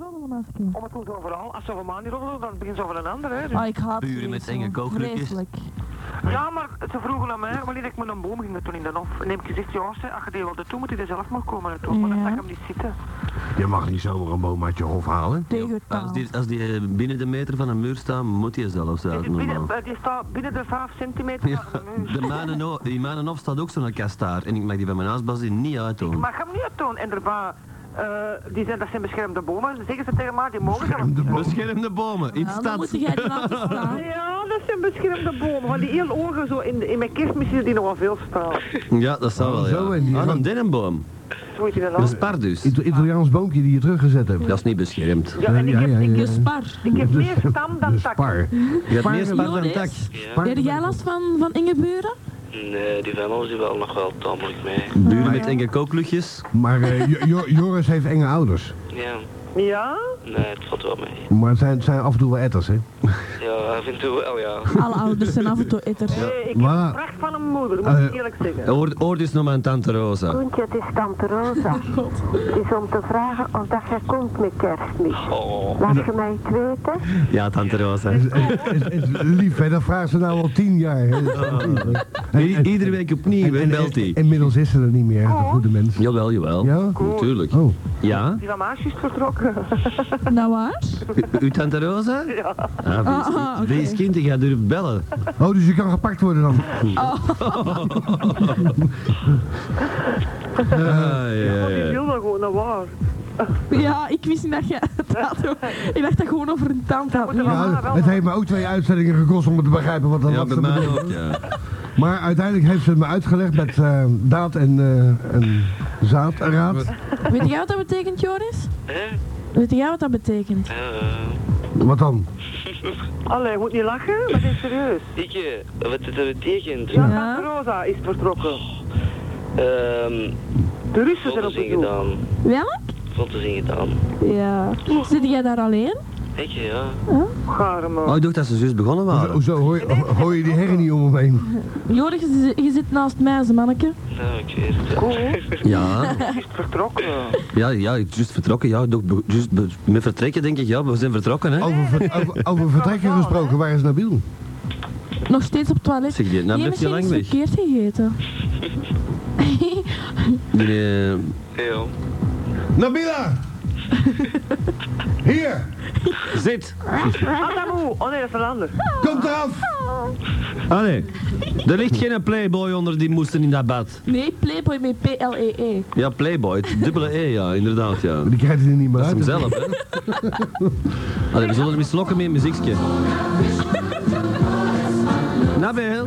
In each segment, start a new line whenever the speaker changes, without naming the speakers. allemaal spelen.
Om het komt gewoon vooral, als ze van maan niet rollen, dan begint ze over een ander. Hè. Dus-
Ah, ik haat
Buren
die
met
zo.
enge kookluchtjes.
Vreselijk.
Ja, maar ze vroegen aan mij wanneer ik met een boom ging toen in de hof. En heb ik gezegd, ja, ze, als je die wilde doen, moet je er zelf maar komen naartoe. Maar dan
Ja.
zag ik hem niet zitten.
Je mag niet zomaar een boom uit je hof halen.
Als
Tegentaal.
Oh.
die, als die eh, binnen de meter van een muur staan, moet je zelfs
Die,
uit,
zit binnen,
normaal.
eh, die staat binnen de 5 centimeter
Ja,
van de muur.
de mijne, in mijn hof staat ook zo'n kast daar. En ik mag die van mijn huisbaas die niet
Ik
uitdoen.
mag hem niet doen. En daarna, eh, die zijn, dat zijn beschermde bomen. Zeggen ze tegen mij, die mogen zelfs
Beschermde
niet. Ah,
bomen.
Beschermde bomen, in
Ja, dan
stad.
moet jij er aan staan.
Ja, dat zijn beschermde bomen. Want die heel ogen zo in, in mijn kerstmis is die nog wel veel staan.
Ja, dat zou
Oh,
wel,
zo,
ja.
en die
Ah,
van-
een dennenboom.
Zo is die dan
Dat
al.
is par dus.
Ito- Italiaans boomje die je teruggezet hebt.
Dat is niet beschermd.
Ja, en ik
Ja, ja,
heb,
ja,
ik,
Je
heb-
spar.
ik heb
Dus-
meer stam dan
dus
tak.
par.
Je hebt meer
Par-
spar dan tak.
Joris,
Par-
Heb jij last van, van enge buren?
Nee, die van ons die wel nog wel tamelijk mee.
Buren met enge kookluchtjes.
Maar eh, Jo- Jo- Joris heeft enge ouders.
Ja,
Ja?
nee, het valt wel mee.
Maar het zijn, het zijn af en toe wel etters, hè?
Ja, af en toe wel, ja.
Alle ouders zijn af en toe etter.
Nee, Eh, ik heb
Maar-
pracht van een moeder, moet ik
Eh,
eerlijk zeggen.
Oor, oor dus nog maar aan tante Rosa.
Koentje, het is Tante Rosa. Het is om te vragen of dat jij komt met kerstmis.
Oh,
Laat je mij iets weten?
Ja, tante Rosa.
Het- het- Lief, hè? Dat vraagt ze nou al tien jaar. Hè?
I- iedere week opnieuw, hè, Ah. belt hij.
Inmiddels is ze er niet meer, de goede mens.
Jawel, jawel.
Ja?
Natuurlijk.
Oh,
Ja?
Die van mij is juist vertrokken.
Nou waar?
U, uw tante Rosa? Ja. Ah, wees,
Ah, oké.
wees kind en ga durven bellen.
oh dus je kan gepakt worden dan.
Ah, ja,
Die
ja.
wil dat gewoon, dat waar.
Ja, ik wist niet dat jij het had. hoor. Ik dacht dat gewoon over een tand had.
Moeten we
Ja.
Ja,
maar wel-
het heeft me ook twee uitzendingen gekost om te begrijpen wat dat
Ja, Oh,
laatste
bij mij
bedoelde.
ook, ja.
Maar uiteindelijk heeft ze het me uitgelegd met eh, daad en, eh, en zaadraad.
Weet jij wat dat betekent, Joris?
hè?
Weet jij wat dat betekent?
Eh,
Wat dan?
Allee, je moet niet lachen, dat is serieus.
ik, eh, wat het betekent?
Ja,
Ja.
Tante Rosa is vertrokken.
Ehm,
De Russen zijn op
foto's
de doel.
ingedaan.
Welk?
Foto's ingedaan.
Ja. Zit jij daar alleen?
Ik, ja.
Gare man.
Oh, ik dacht dat ze zus begonnen waren.
Hoezo hoor je, hoor je die herrie niet om hem heen?
Joris, je zit- je zit naast mij, ze manneke.
Nou, ik weet het wel.
Goed, hè?
oh. Ja,
Die is vertrokken.
ja, ja, ik ben juist vertrokken. Ja, toch, be- juist be- met vertrekken denk ik, ja, we zijn vertrokken, hè.
Over, ver- over, over vertrekken gesproken, waar is Nabil?
Nog steeds op het toilet.
Zeg, die- nou
Jij
blijft je
misschien
lang
iets verkeerd gegeten.
Die, eh,
Ja.
Nabila! Hier!
zit!
Adamu! Oh nee, dat is een ander.
Komt eraf!
Allee, er ligt geen playboy onder die moesten in dat bad.
Nee, Playboy met E P-L-E-E.
Ja, playboy, het dubbele E, ja, inderdaad, ja.
Die krijgt hij er niet meer
Dat is hem
uit.
zelf, hè. Allee, we zullen hem eens lokken met een muziekje. Nabeel,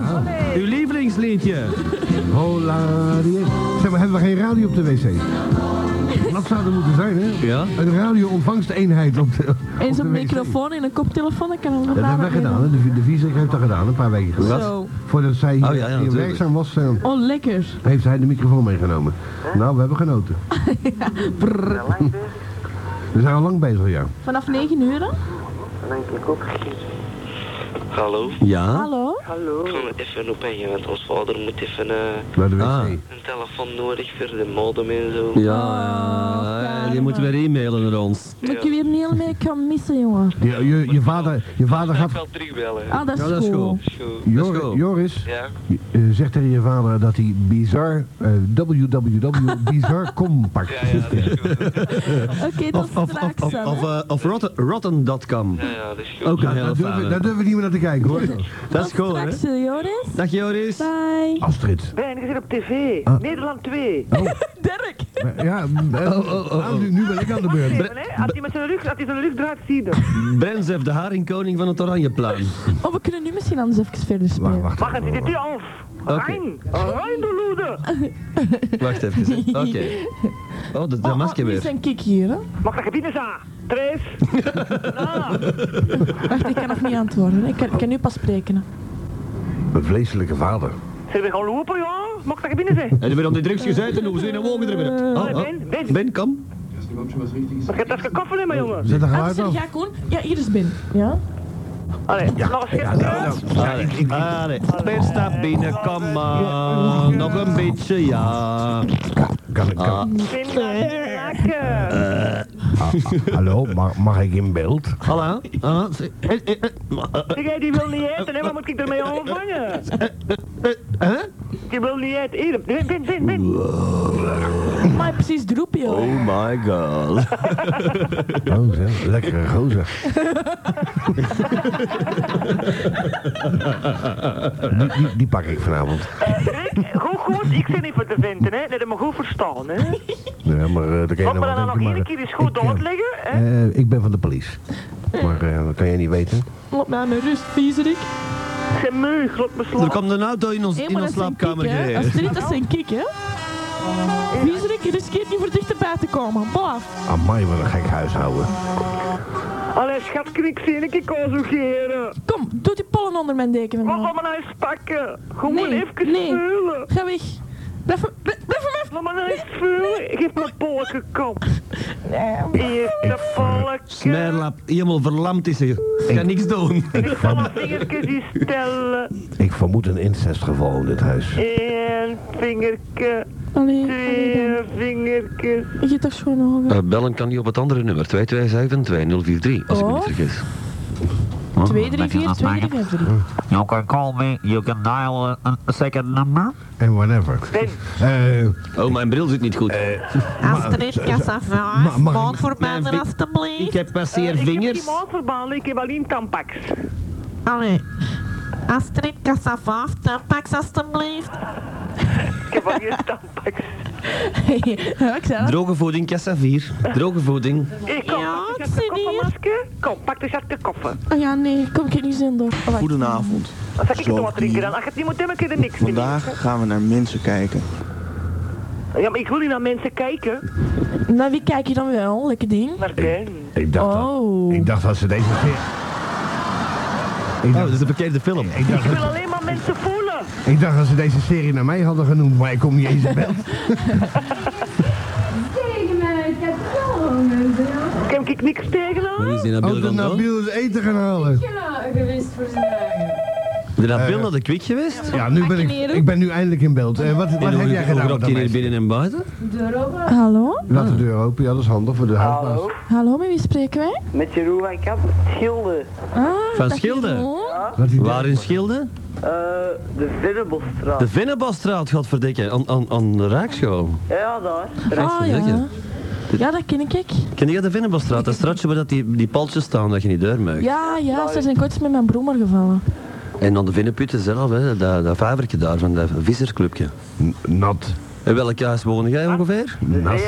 uw lievelingsliedje.
Hola, die is- Zeg maar, hebben we geen radio op de wc? Dat zou er moeten zijn, hè?
Ja?
Een radio-ontvangsteenheid op de.
En
op de
zo'n
wc.
microfoon en een koptelefoon, dat kan allemaal
Dat hebben wij gedaan, hè? De, vi- de Viezer heeft dat gedaan, een paar weken geleden.
Wat?
Zo.
Voordat zij hier,
Oh, ja, ja,
hier
natuurlijk.
werkzaam was, eh,
Oh, lekker.
heeft hij de microfoon meegenomen. Nou, we hebben genoten. We zijn al lang bezig, ja.
Vanaf 9 uur. hè?
Dan denk ik ook.
Hallo?
Ja?
Hallo?
Hallo.
Ik ga even ophangen, want ons vader moet even eh,
Naar de wc.
Ah.
een telefoon nodig voor de modem en zo.
Ja, ja, ja, die moeten weer e-mailen naar ons.
Moet ik je weer niet helemaal kan missen, jongen.
Je, je, je vader, je vader
Ik ga
gaat...
wel terugbellen.
Ah, dat is,
Ja, dat is
cool.
goed.
Is goed.
Jor-
go.
Joris,
Ja?
eh, zeg tegen je vader dat hij bizar... eh, www.bizar.com pakt.
Ja, ja, dat is goed.
Oké, tot
Of, of,
straks
of,
dan,
of,
hè.
of, eh, of rotten- rotten.com.
Ja, ja, dat is goed.
Ook een
Daar
hele
durven,
fijne.
daar durven niet meer naar te kijken, hoor.
Dat
Tot
is cool, hè?
straks, hè, Joris.
Dag Joris.
Bye.
Astrid.
Weinig is er op tv. Nederland 2.
Dirk.
Maar Ja, eh, nou, nu, nu ben ik aan de beurt.
Even, hè? Als hij met zijn rug, als hij zijn rug draait, zie je hem.
Brenzef, de haringkoning van het Oranjeplein.
Oh, we kunnen nu misschien anders even verder
Wacht,
spelen.
wacht.
Wacht, hij zit hier af. Rein. Rein de loede.
Wacht even. hè. Oké. Oh, dat, dat
Oh, oh,
masker
nu
weer.
zijn kik hier, hè.
Mag dat je binnen zijn? Tres.
Wacht, ik kan nog niet antwoorden. hè. Ik kan, ik kan nu pas spreken. hè.
Een vleeselijke vader.
Zullen we gaan lopen, ja? Mag dat je binnen zijn?
En we op die drugs gezeten en we zijn omhoog gedrukt. Oh, oh.
Eh, Ben, Ben.
Ben, kom.
Maar je hebt dat gekoffeld, mijn jongen.
Zet een geluid
Amsterdam,
af.
ga ik gewoon... Ah, Ja, hier is Ben. Ja?
Allee, nog eens.
Allee, allee. Per stap binnen, kom maar. Nog een beetje, ja.
Kan, kan.
Ben, ben, ben, ben, ben.
Ah, ah, hallo, mag, mag ik in beeld?
Hallo? Ah, ze- eh, eh, eh, ma- eh,
Jij die wil niet eten, hè? Wat moet ik ermee ontvangen?
Eh,
hè?
Je wil niet eten. Hier, win, win, win, win.
Maar precies droepie, hoor.
Oh my god.
Oh, zo, lekkere gozer. die, die, die pak ik vanavond.
Rick, goed, goed. Ik zit niet voor te vinden, hè? Let hem maar goed verstaan, hè?
Ja, maar eh, dat kan je
Wat
nou
we dan nog
wel denken, maar,
iedere keer eens goed
ik, eh,
doodleggen, hè?
eh, ik ben van de police. Maar eh, dat kan jij niet weten.
Laat mij aan mijn rust, viezerik.
Ik ben moe, laat me
Er
slapen.
komt een auto in ons,
Hé,
in
maar
ons
dat is een
slaapkamer
kiek, hè.
gereden.
Als het er niet, dat is een kiek, hè. Viezerik, je riskeert niet voor dichterbij te komen. Blaf.
Amai, wat een gek huishouden.
Allee, schat, kan ik zien, ik kan zo geren.
Kom, doe die pollen onder mijn deken.
Wat
man.
gaan we nou eens pakken? Gewoon
Nee,
even
nee.
vullen.
Ga weg. Blijf van blijf van mij.
Laat me nou eens vullen. Geef me een polke kop. Hier, de polke.
Smerlap, helemaal verlamd is hier. Kan niks doen.
Ik zal mijn vingertjes hier stellen.
Ik vermoed een incestgeval in dit huis.
Eén vingerke,
Allee, allee, dan.
twee vingertjes.
je hebt daar schoon ogen.
Eh, bellen kan niet op het andere nummer, 227-2043, als ik me
Oh.
niet vergis.
2, 3, 4, 2, 3, 4, 3.
You can Nou, call me, you can dial a, a second number.
En whatever.
Ben,
Eh,
Oh, mijn bril zit niet goed.
Eh,
Astrid
Ma-
Cassavant,
mag ik-
maand voor
mijn
mij
vi- Ik
alstublieft.
heb passeer
Eh,
ik heb geen
vingers.
maandverbanden, ik heb alleen tampax.
Allee. Astrid Cassavant, tampax alstublieft.
Ik heb alleen tampax.
Ja, ik zei dat.
Droge voeding, kassa 4. Droge voeding.
Hey, kom,
Ja,
pak
ik
eens uit de
zit hier.
koffermasker. Kom, pak eens uit de koffer.
Oh ja, nee, kom ik heb niet zin door. Oh, wacht.
Goedenavond.
Dan zal ik het
Zo,
wat drinken
hier.
dan. Als je het niet moet hebben, kun je er niks mee.
Vandaag gaan we naar mensen kijken.
Ja, maar ik wil niet naar mensen kijken.
Naar Nou, wie kijk je dan wel? Lekker ding.
Naar Ken.
ik, dacht dat,
Oh.
ik dacht dat ze deze keer... Ik
Oh,
dacht,
dat is een verkeerde film.
ik, dacht,
Ik wil alleen maar mensen voelen.
ik dacht dat ze deze serie naar mij hadden genoemd, maar ik kom niet eens in beeld.
Kan ik niks tegen aan?
Hoe is die naar
Oh, de
Bill gegaan?
Nabil is eten gaan halen.
De Nabil naar de kwik geweest?
Ja, nu ben ik, ik ben nu eindelijk in beeld. Eh, wat wat
En hoe-
heb jij
hoe
gedaan?
rokt
met dat
je hier
meisje?
binnen en buiten?
Hallo?
Laat de deur open, ja, dat is handig voor de huisbaas.
Hallo, met wie spreken wij?
Met Jeroen en Kat, Schilde,
Ah,
Van
dag,
Schilde.
Jeroen.
Laat die deur-
Waar in Schilde?
eh, de Vinnebosstraat.
De Vinnenbosstraat, godverdikke. Aan, aan, aan de Raakschool.
Ja, daar.
Ah ja.
Rechtsverdekken.
Ja, dat ken ik. ik.
Ken je de Vinnenbosstraat? Dat straatje waar dat die, die paltjes staan dat je niet deur mag.
Ja, ja, ze zijn kort met mijn broer gevallen.
En dan de Vinnenputten zelf, hè, dat, dat vijvertje daar van dat vissersclubje.
Nat.
In welk huis woon jij ongeveer?
Nas.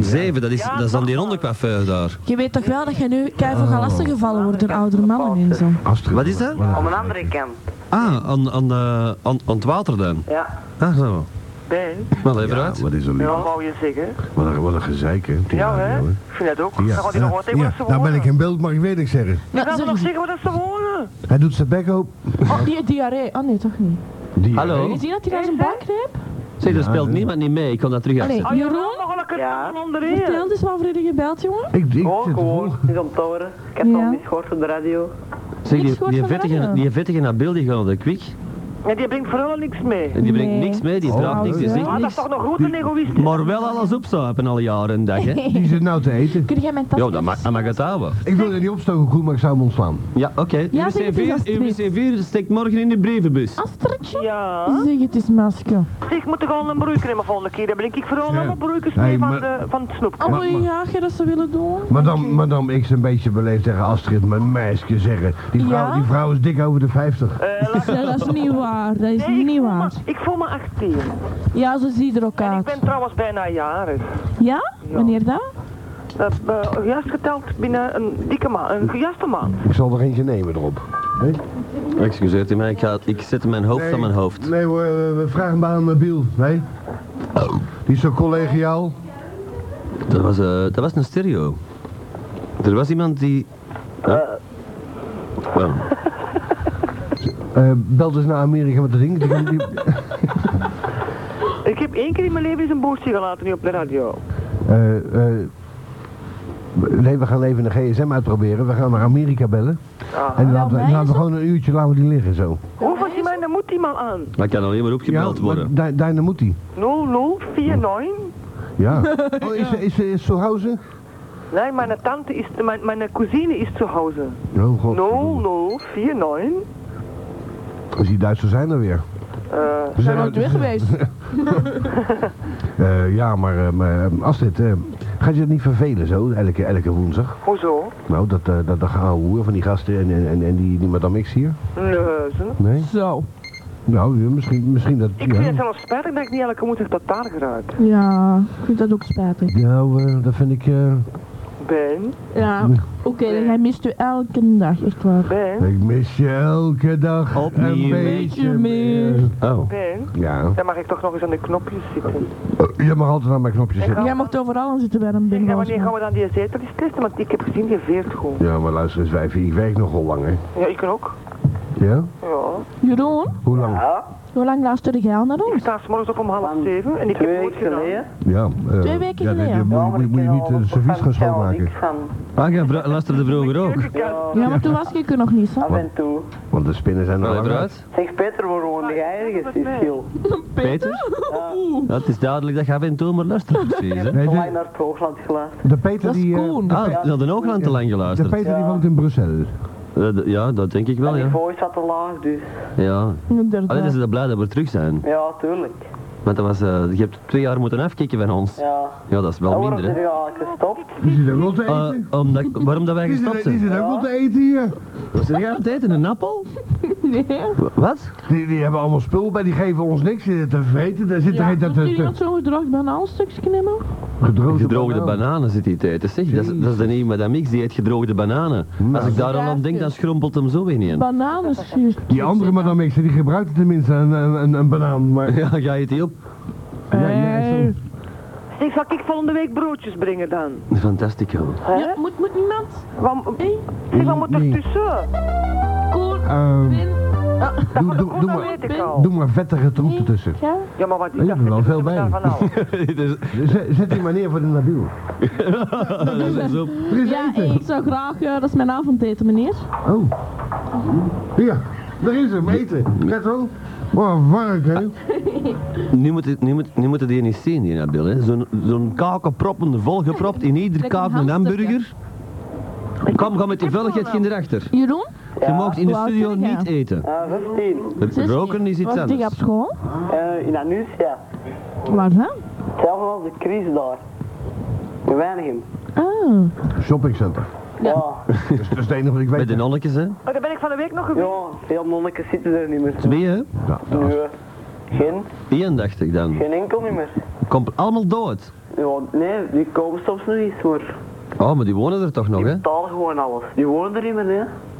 Zeven, dat is, dat is dan die onderkwafeur daar.
Je weet toch wel dat je nu keihard
Oh.
van lastig gevallen wordt door oudere mannen en zo.
Astrid.
Wat is dat?
Om een andere kant.
Ah, aan, aan, eh, aan, aan het water dan.
Ja.
Ah, zo.
Ben,
Maar even
Ja,
uit.
wat is er lief?
ja, wou je zeggen?
Wat een, wat een gezeik, hè? Die
Ja, hè?
radio,
Ik vind dat ook. Dan
Ja,
gaat hij nog wat tegen
ja,
wat ze
daar ben
wonen.
ik in beeld, mag ik weet ik zeggen.
Laten
Nou,
we nog
zeg,
zeggen wat ze wonen.
Hij doet zijn bek open.
oh, die diarree. Oh nee, toch niet.
Die-
Hallo?
Je ziet dat hij naar zijn bank reep?
Zeg, er speelt
hè.
niemand niet mee. Ik kan dat terug
Allee,
Oh, Ah,
uit.
Jeroen,
Nog een keer
Ja.
van onderin.
vertel dus wat voor je gebeld, jongen.
Ik, ik
Oh,
zit
gewoon. Niet om te horen. Ik heb
Ja.
al niet gehoord op de radio.
Zeg,
niks
die,
gehoord
die,
van de
vettige,
radio.
die vettige Nabil die gaat naar de kwik.
Ja, die brengt vooral niks mee.
En die brengt
Nee.
niks mee, die
Oh,
vraagt niks, die
ja.
zegt
Ah, dat
niks.
is toch nog goed een egoïst.
Maar wel alles opzuipen alle jaren en dag, hè?
vol. Die zit nou te eten.
Kun jij mijn tas
Ja, dat mag, dat mag het houden.
Ik wil er niet opstoken, Koen, maar ik zou hem ontslaan.
Ja, oké.
Ja, zeg het eens,
UWC4
alsjeblieft.
UWC4 steekt morgen in de brievenbus.
Astridje?
Ja.
Zeg het eens, masker.
Ik moet er gewoon een broeiker in mijn volgende keer. Dan breng ik vooral
Ja.
allemaal broeikers
Hey,
mee van,
maar-
de, van het snoep.
Oh ja, ga je dat ze willen doen?
Madame, madame, ik is een beetje beleefd tegen Astrid, mijn meisje zeggen. Die vrouw,
Ja?
die vrouw is dik over de 50.
Eh, laat-
Ja, dat is niet waar, dat is
Nee, ik
niet
voel me-
waar.
Ik voel me 18.
Ja, ze zien er ook
En ik
uit.
ben trouwens bijna jarig.
Ja? Wanneer dat?
Dat, eh, juist geteld binnen een dikke maand, een juiste maand.
Ik zal er eentje nemen erop. Nee,
Excuseert u mij, ik, ga, ik zet mijn hoofd aan mijn hoofd.
Nee hoor, eh, we we vragen hem aan Nabil. Nee? Die is zo collegiaal.
Dat was, eh, dat was een stereo. Er was iemand die... Huh? Wel,
Eh bel dus naar Amerika met dat ding. Die, die,
Ik heb één keer in mijn leven eens een boertje gelaten nu op de radio.
eh, eh, nee, we gaan even de gsm uitproberen. We gaan naar Amerika bellen.
Ah.
En laten we,
wij
laten we
is
gewoon een uurtje laten we die liggen zo.
Hoe was die man? Daar moet die man aan.
maar ik kan alleen maar opgebeld worden.
maar daar- daarna moet hij.
0049.
Ja. Oh, is, is, is, is Sohausen?
Nein, meine Tante ist, mein, meine Cousine ist zu Hause.
Oh god.
0049.
Dus die Duitsers zijn er weer.
Äh,
Ze
zijn nooit weer geweest.
Eh, ja, maar eh, maar, eh, Astrid, eh, gaat je dat niet vervelen zo, elke, elke woensdag?
hoezo?
Nou, dat, eh dat, dat gehouden hoer van die gasten en, en, en, en die, die madame X hier?
Nö, ze-
Nee?
Zo.
Nou, ja, misschien, misschien dat...
Ik vind het
Ja,
zelfs spijtig dat ik niet elke woensdag dat daar geraakt
Ja, ik vind dat ook spijtig.
nou, eh, dat vind ik... eh,
ben.
Ja, oké, hij mist u elke dag, echt waar.
Ben,
ik mis je elke dag
Opnieuw.
een beetje
Beetje meer.
Oh.
Ben.
Ja, Eh,
Dan mag ik toch nog eens aan de knopjes zitten.
je mag altijd aan mijn knopje zitten.
Jij mocht overal aan zitten bij een
Zeg, en
binnenbal.
wanneer gaan we dan die zeteltjes testen? Want ik heb gezien, je veert gewoon.
Ja, maar luister eens wijfie, ik werk nogal lang hè.
Ja, ik ook.
Ja?
Ja.
Jeroen,
Hoe lang?
hoe lang luisterde jij al naar
Ik
ons?
sta s'morgens op om half zeven en ik heb nooit gedaan.
Ja, eh,
Twee weken
ja,
geleden.
Moet, moet, moet, moet je niet eh, de servies gaan schoonmaken.
Ah, ja, vra- luisterde vroeger ook.
Ja, maar toen was ik er nog niet, zo.
en Want de spinnen zijn er
Allee,
lang uit.
eruit.
Zeg Peter, waar woonde jij ergens? Is Giel.
Peter? Ja, het is duidelijk dat je af en toe maar luistert precies, hè?
Nee,
Te lang
de,
naar het hoogland geluisterd.
de Peter
Dat is
die... eh,
Koen.
Ah, ze hadden ook lang te lang
de
geluisterd.
Peter die woont in Brussel.
Eh, d- ja, dat denk ik wel,
Die
ja.
voice zat te laag, dus.
ja. Alleen is
Inderdaad.
het blij dat we terug zijn.
Ja, tuurlijk.
Want dat was, eh, je hebt twee jaar moeten afkicken van ons.
Ja.
Ja, dat is
En
wel
waarom
minder,
zijn
hè.
jullie eigenlijk gestopt?
Die zit ook wel te eten.
Eh, omdat, waarom dat wij
die
gestopt
zit, die
zijn?
zit ook wel te eten hier.
Wat zit jij aan het eten? Een appel?
Nee.
Wa- Wat?
Die, die hebben allemaal spul bij, die geven ons niks. Die zitten te vreten, daar zit
Ja,
er
dat
dat, dat,
iemand zo'n gedroogd banaanstukje nemen?
eh, gedroogde,
Gedroogde
banaan.
bananen zit hij te eten, zeg. Dat is, dat is de nieuwe Madame X, die eet gedroogde bananen. Als ik daar al aan denk, dan schrompelt hem zo weer niet in.
Bananen, juist.
Die andere madame X, die gebruikt tenminste een, een, een, een banaan. Maar,
Ja, ga je die op?
ja, ja, zo.
Zeg, zal ik volgende week broodjes brengen dan?
Fantastico.
Ja, moet, moet niemand?
Wat,
Hé,
zeg, wat moet
Nee.
er tussen?
Koen,
Ehm,
Win,
doe, doe,
Goed,
doe
dat
maar,
weet ik al.
doe maar vettige troep
Nee.
ertussen.
ja.
Ja, maar wat
Ik
is dat?
ben wel
Ik
veel
moet
bij.
daarvan houden.
Dit is-
Zet, zet die maar neer voor de Nabil.
dat is zo.
Er is
Ja,
eten.
ik zou graag, eh, dat is mijn avondeten, meneer.
Oh. Ja, daar is hem, eten. Let wel. Wow, vark, hè.
Nu moet, het- nu, moet, nu moeten die niet zien, die Nabil. hè. Zo'n zo'n kakenproppen, volgepropt in ieder
Lekker
kaak
een
een
hamstertje.
hamburger. Kom, kom met die vulligheid geen erachter.
Jeroen,
Je mag in de
Hoe oud
studio
ben jij?
niet eten.
Ja, 15.
zestien.
Roken is
was
iets
die op
anders.
school?
Eh, in Anusha.
Waar dan?
Hetzelfde als de Chris daar. In Weinigem.
Ah,
Shoppingcenter.
Ja.
Dat is, dat is het enige wat ik
Met
weet.
de nonnetjes, hè.
Oh, daar ben ik van de week nog geweest.
Ja, veel monniken zitten er niet meer.
Twee, hè.
Ja, dat is-
Nee. Geen,
Eén, dacht ik dan.
geen enkel niet meer.
Komt allemaal dood.
Ja, nee, die komen soms nog eens, maar
Oh, maar die wonen er toch nog,
die
hè?
betalen gewoon alles. Die wonen er niet meer,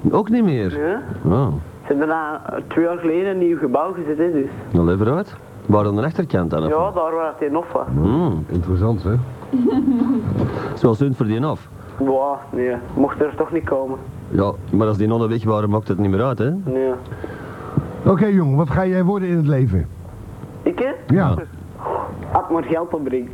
hè?
Ook niet meer.
Nee.
Oh,
Ze hebben daar twee jaar geleden een nieuw gebouw gezet, hè, dus.
dan lever uit. Waar aan de achterkant dan? of
Ja,
wat?
daar waar het in nog was.
Hmm,
Interessant, hè.
zoals hun voor die af.
Wow, nee, mocht er toch niet komen.
Ja, maar als die nonnen weg waren, maakt het niet meer uit, hè?
Nee.
Oké, jongen, wat ga jij worden in het leven?
Ik, hè?
Ja,
Had maar geld opbrengt.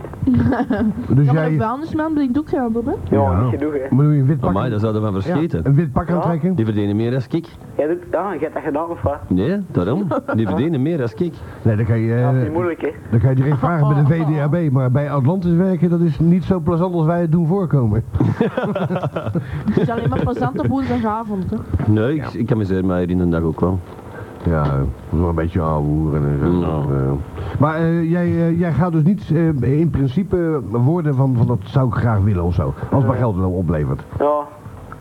dus
ja, maar
jij...
een vuilnisman brengt ook geld op, hè?
Ja, niet genoeg, hè.
Moet je een wit pak...
Amai, daar zouden we van
ja,
verschieten.
een wit pak aantrekken?
Die verdienen meer als ik.
Jij doet, ah, jij hebt dat gedaan of wat?
Nee, daarom. Die verdienen meer als ik.
Nee, dan kan je...
Dat is niet
eh,
moeilijk, hè.
Dan kan je direct vragen bij de VDAB, maar bij Atlantis werken, dat is niet zo plezant als wij het doen voorkomen.
Het is alleen maar plezant op woensdagavond, hè?
Nee, ik, ik amuseer mij hier in de dag ook wel.
Ja, dat is wel een beetje aanhoeren en zo.
Nou.
Eh, Maar eh, jij, eh, jij gaat dus niet eh, in principe woorden van, van dat zou ik graag willen of zo. Als het maar geld wel oplevert.
Ja.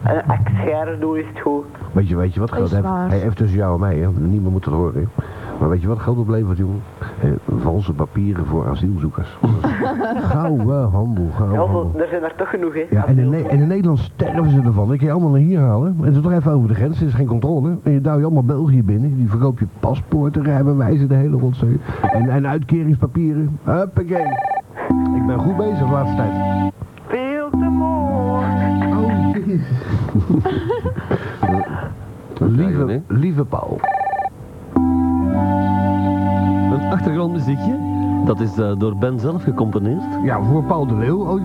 En als ik scheren doe, is het goed.
Weet je, weet je wat
Is
geld heeft?
waar.
Hey, even tussen jou en mij, hè. niemand moet het horen. hè. Maar weet je wat geld oplevert, jongen? Eh, valse papieren voor asielzoekers. gouden handel, gouden
Ja,
handel.
zo- er zijn er toch genoeg, hè.
Ja, en in, Ne- en in Nederland sterven ze ervan. Dan kun je allemaal naar hier halen. En ze toch even over de grens, er is geen controle. En je duw je allemaal België binnen. Die verkoop je paspoorten, rijbewijzen, de hele rotzooi. En, en uitkeringspapieren. Huppakee. Ik ben goed bezig de laatste tijd.
Veel te mooi.
Oh, jezus. lieve, lieve Paul.
Een achtergrondmuziekje, dat is eh, door Ben zelf gecomponeerd.
Ja, voor Paul de Leeuw ooit.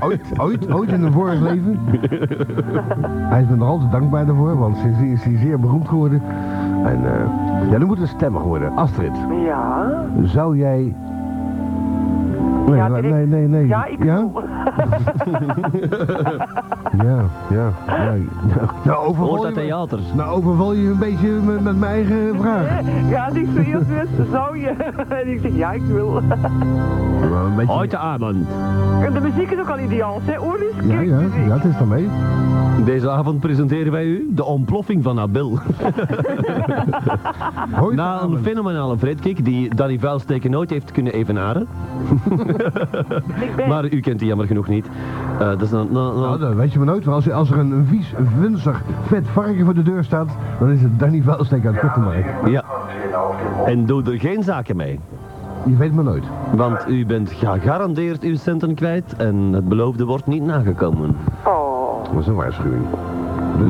Ooit, ooit, ooit in een vorig leven. Hij is me nog altijd dankbaar daarvoor, want sindsdien is hij zeer beroemd geworden. En eh, ja, nu moet het stemmig worden. Astrid.
Ja,
Zou jij Nee,
Ja,
la-
direct.
nee, nee, nee.
Ja, ik
Ja? ja, ja. ja. Nou, nou, overval
Hoort dat
je me-
theater?
nou overval je een beetje met, met mijn eigen vraag.
Ja, die zei eerst best, zou je? En ik zeg, ja, ik wil.
Heute Abend.
En de muziek is ook al ideaal, hè? Oris,
Ja, ja, ja, het is dan mee.
Deze avond presenteren wij u de ontploffing van Nabil. Na een fenomenale vredkick die Danny Vuilsteken nooit heeft kunnen evenaren. maar u kent die jammer genoeg niet. Eh, dat is dan, nou, nou,
Nou, dat weet je maar nooit. want Als, als er een, een vies, vunzig, vet varken voor de deur staat, dan is het Danny Vuilsteek uit Kuttenmark.
ja. En doe er geen zaken mee.
Je weet maar nooit.
Want u bent gegarandeerd uw centen kwijt en het beloofde wordt niet nagekomen.
Oh.
Dat is een waarschuwing.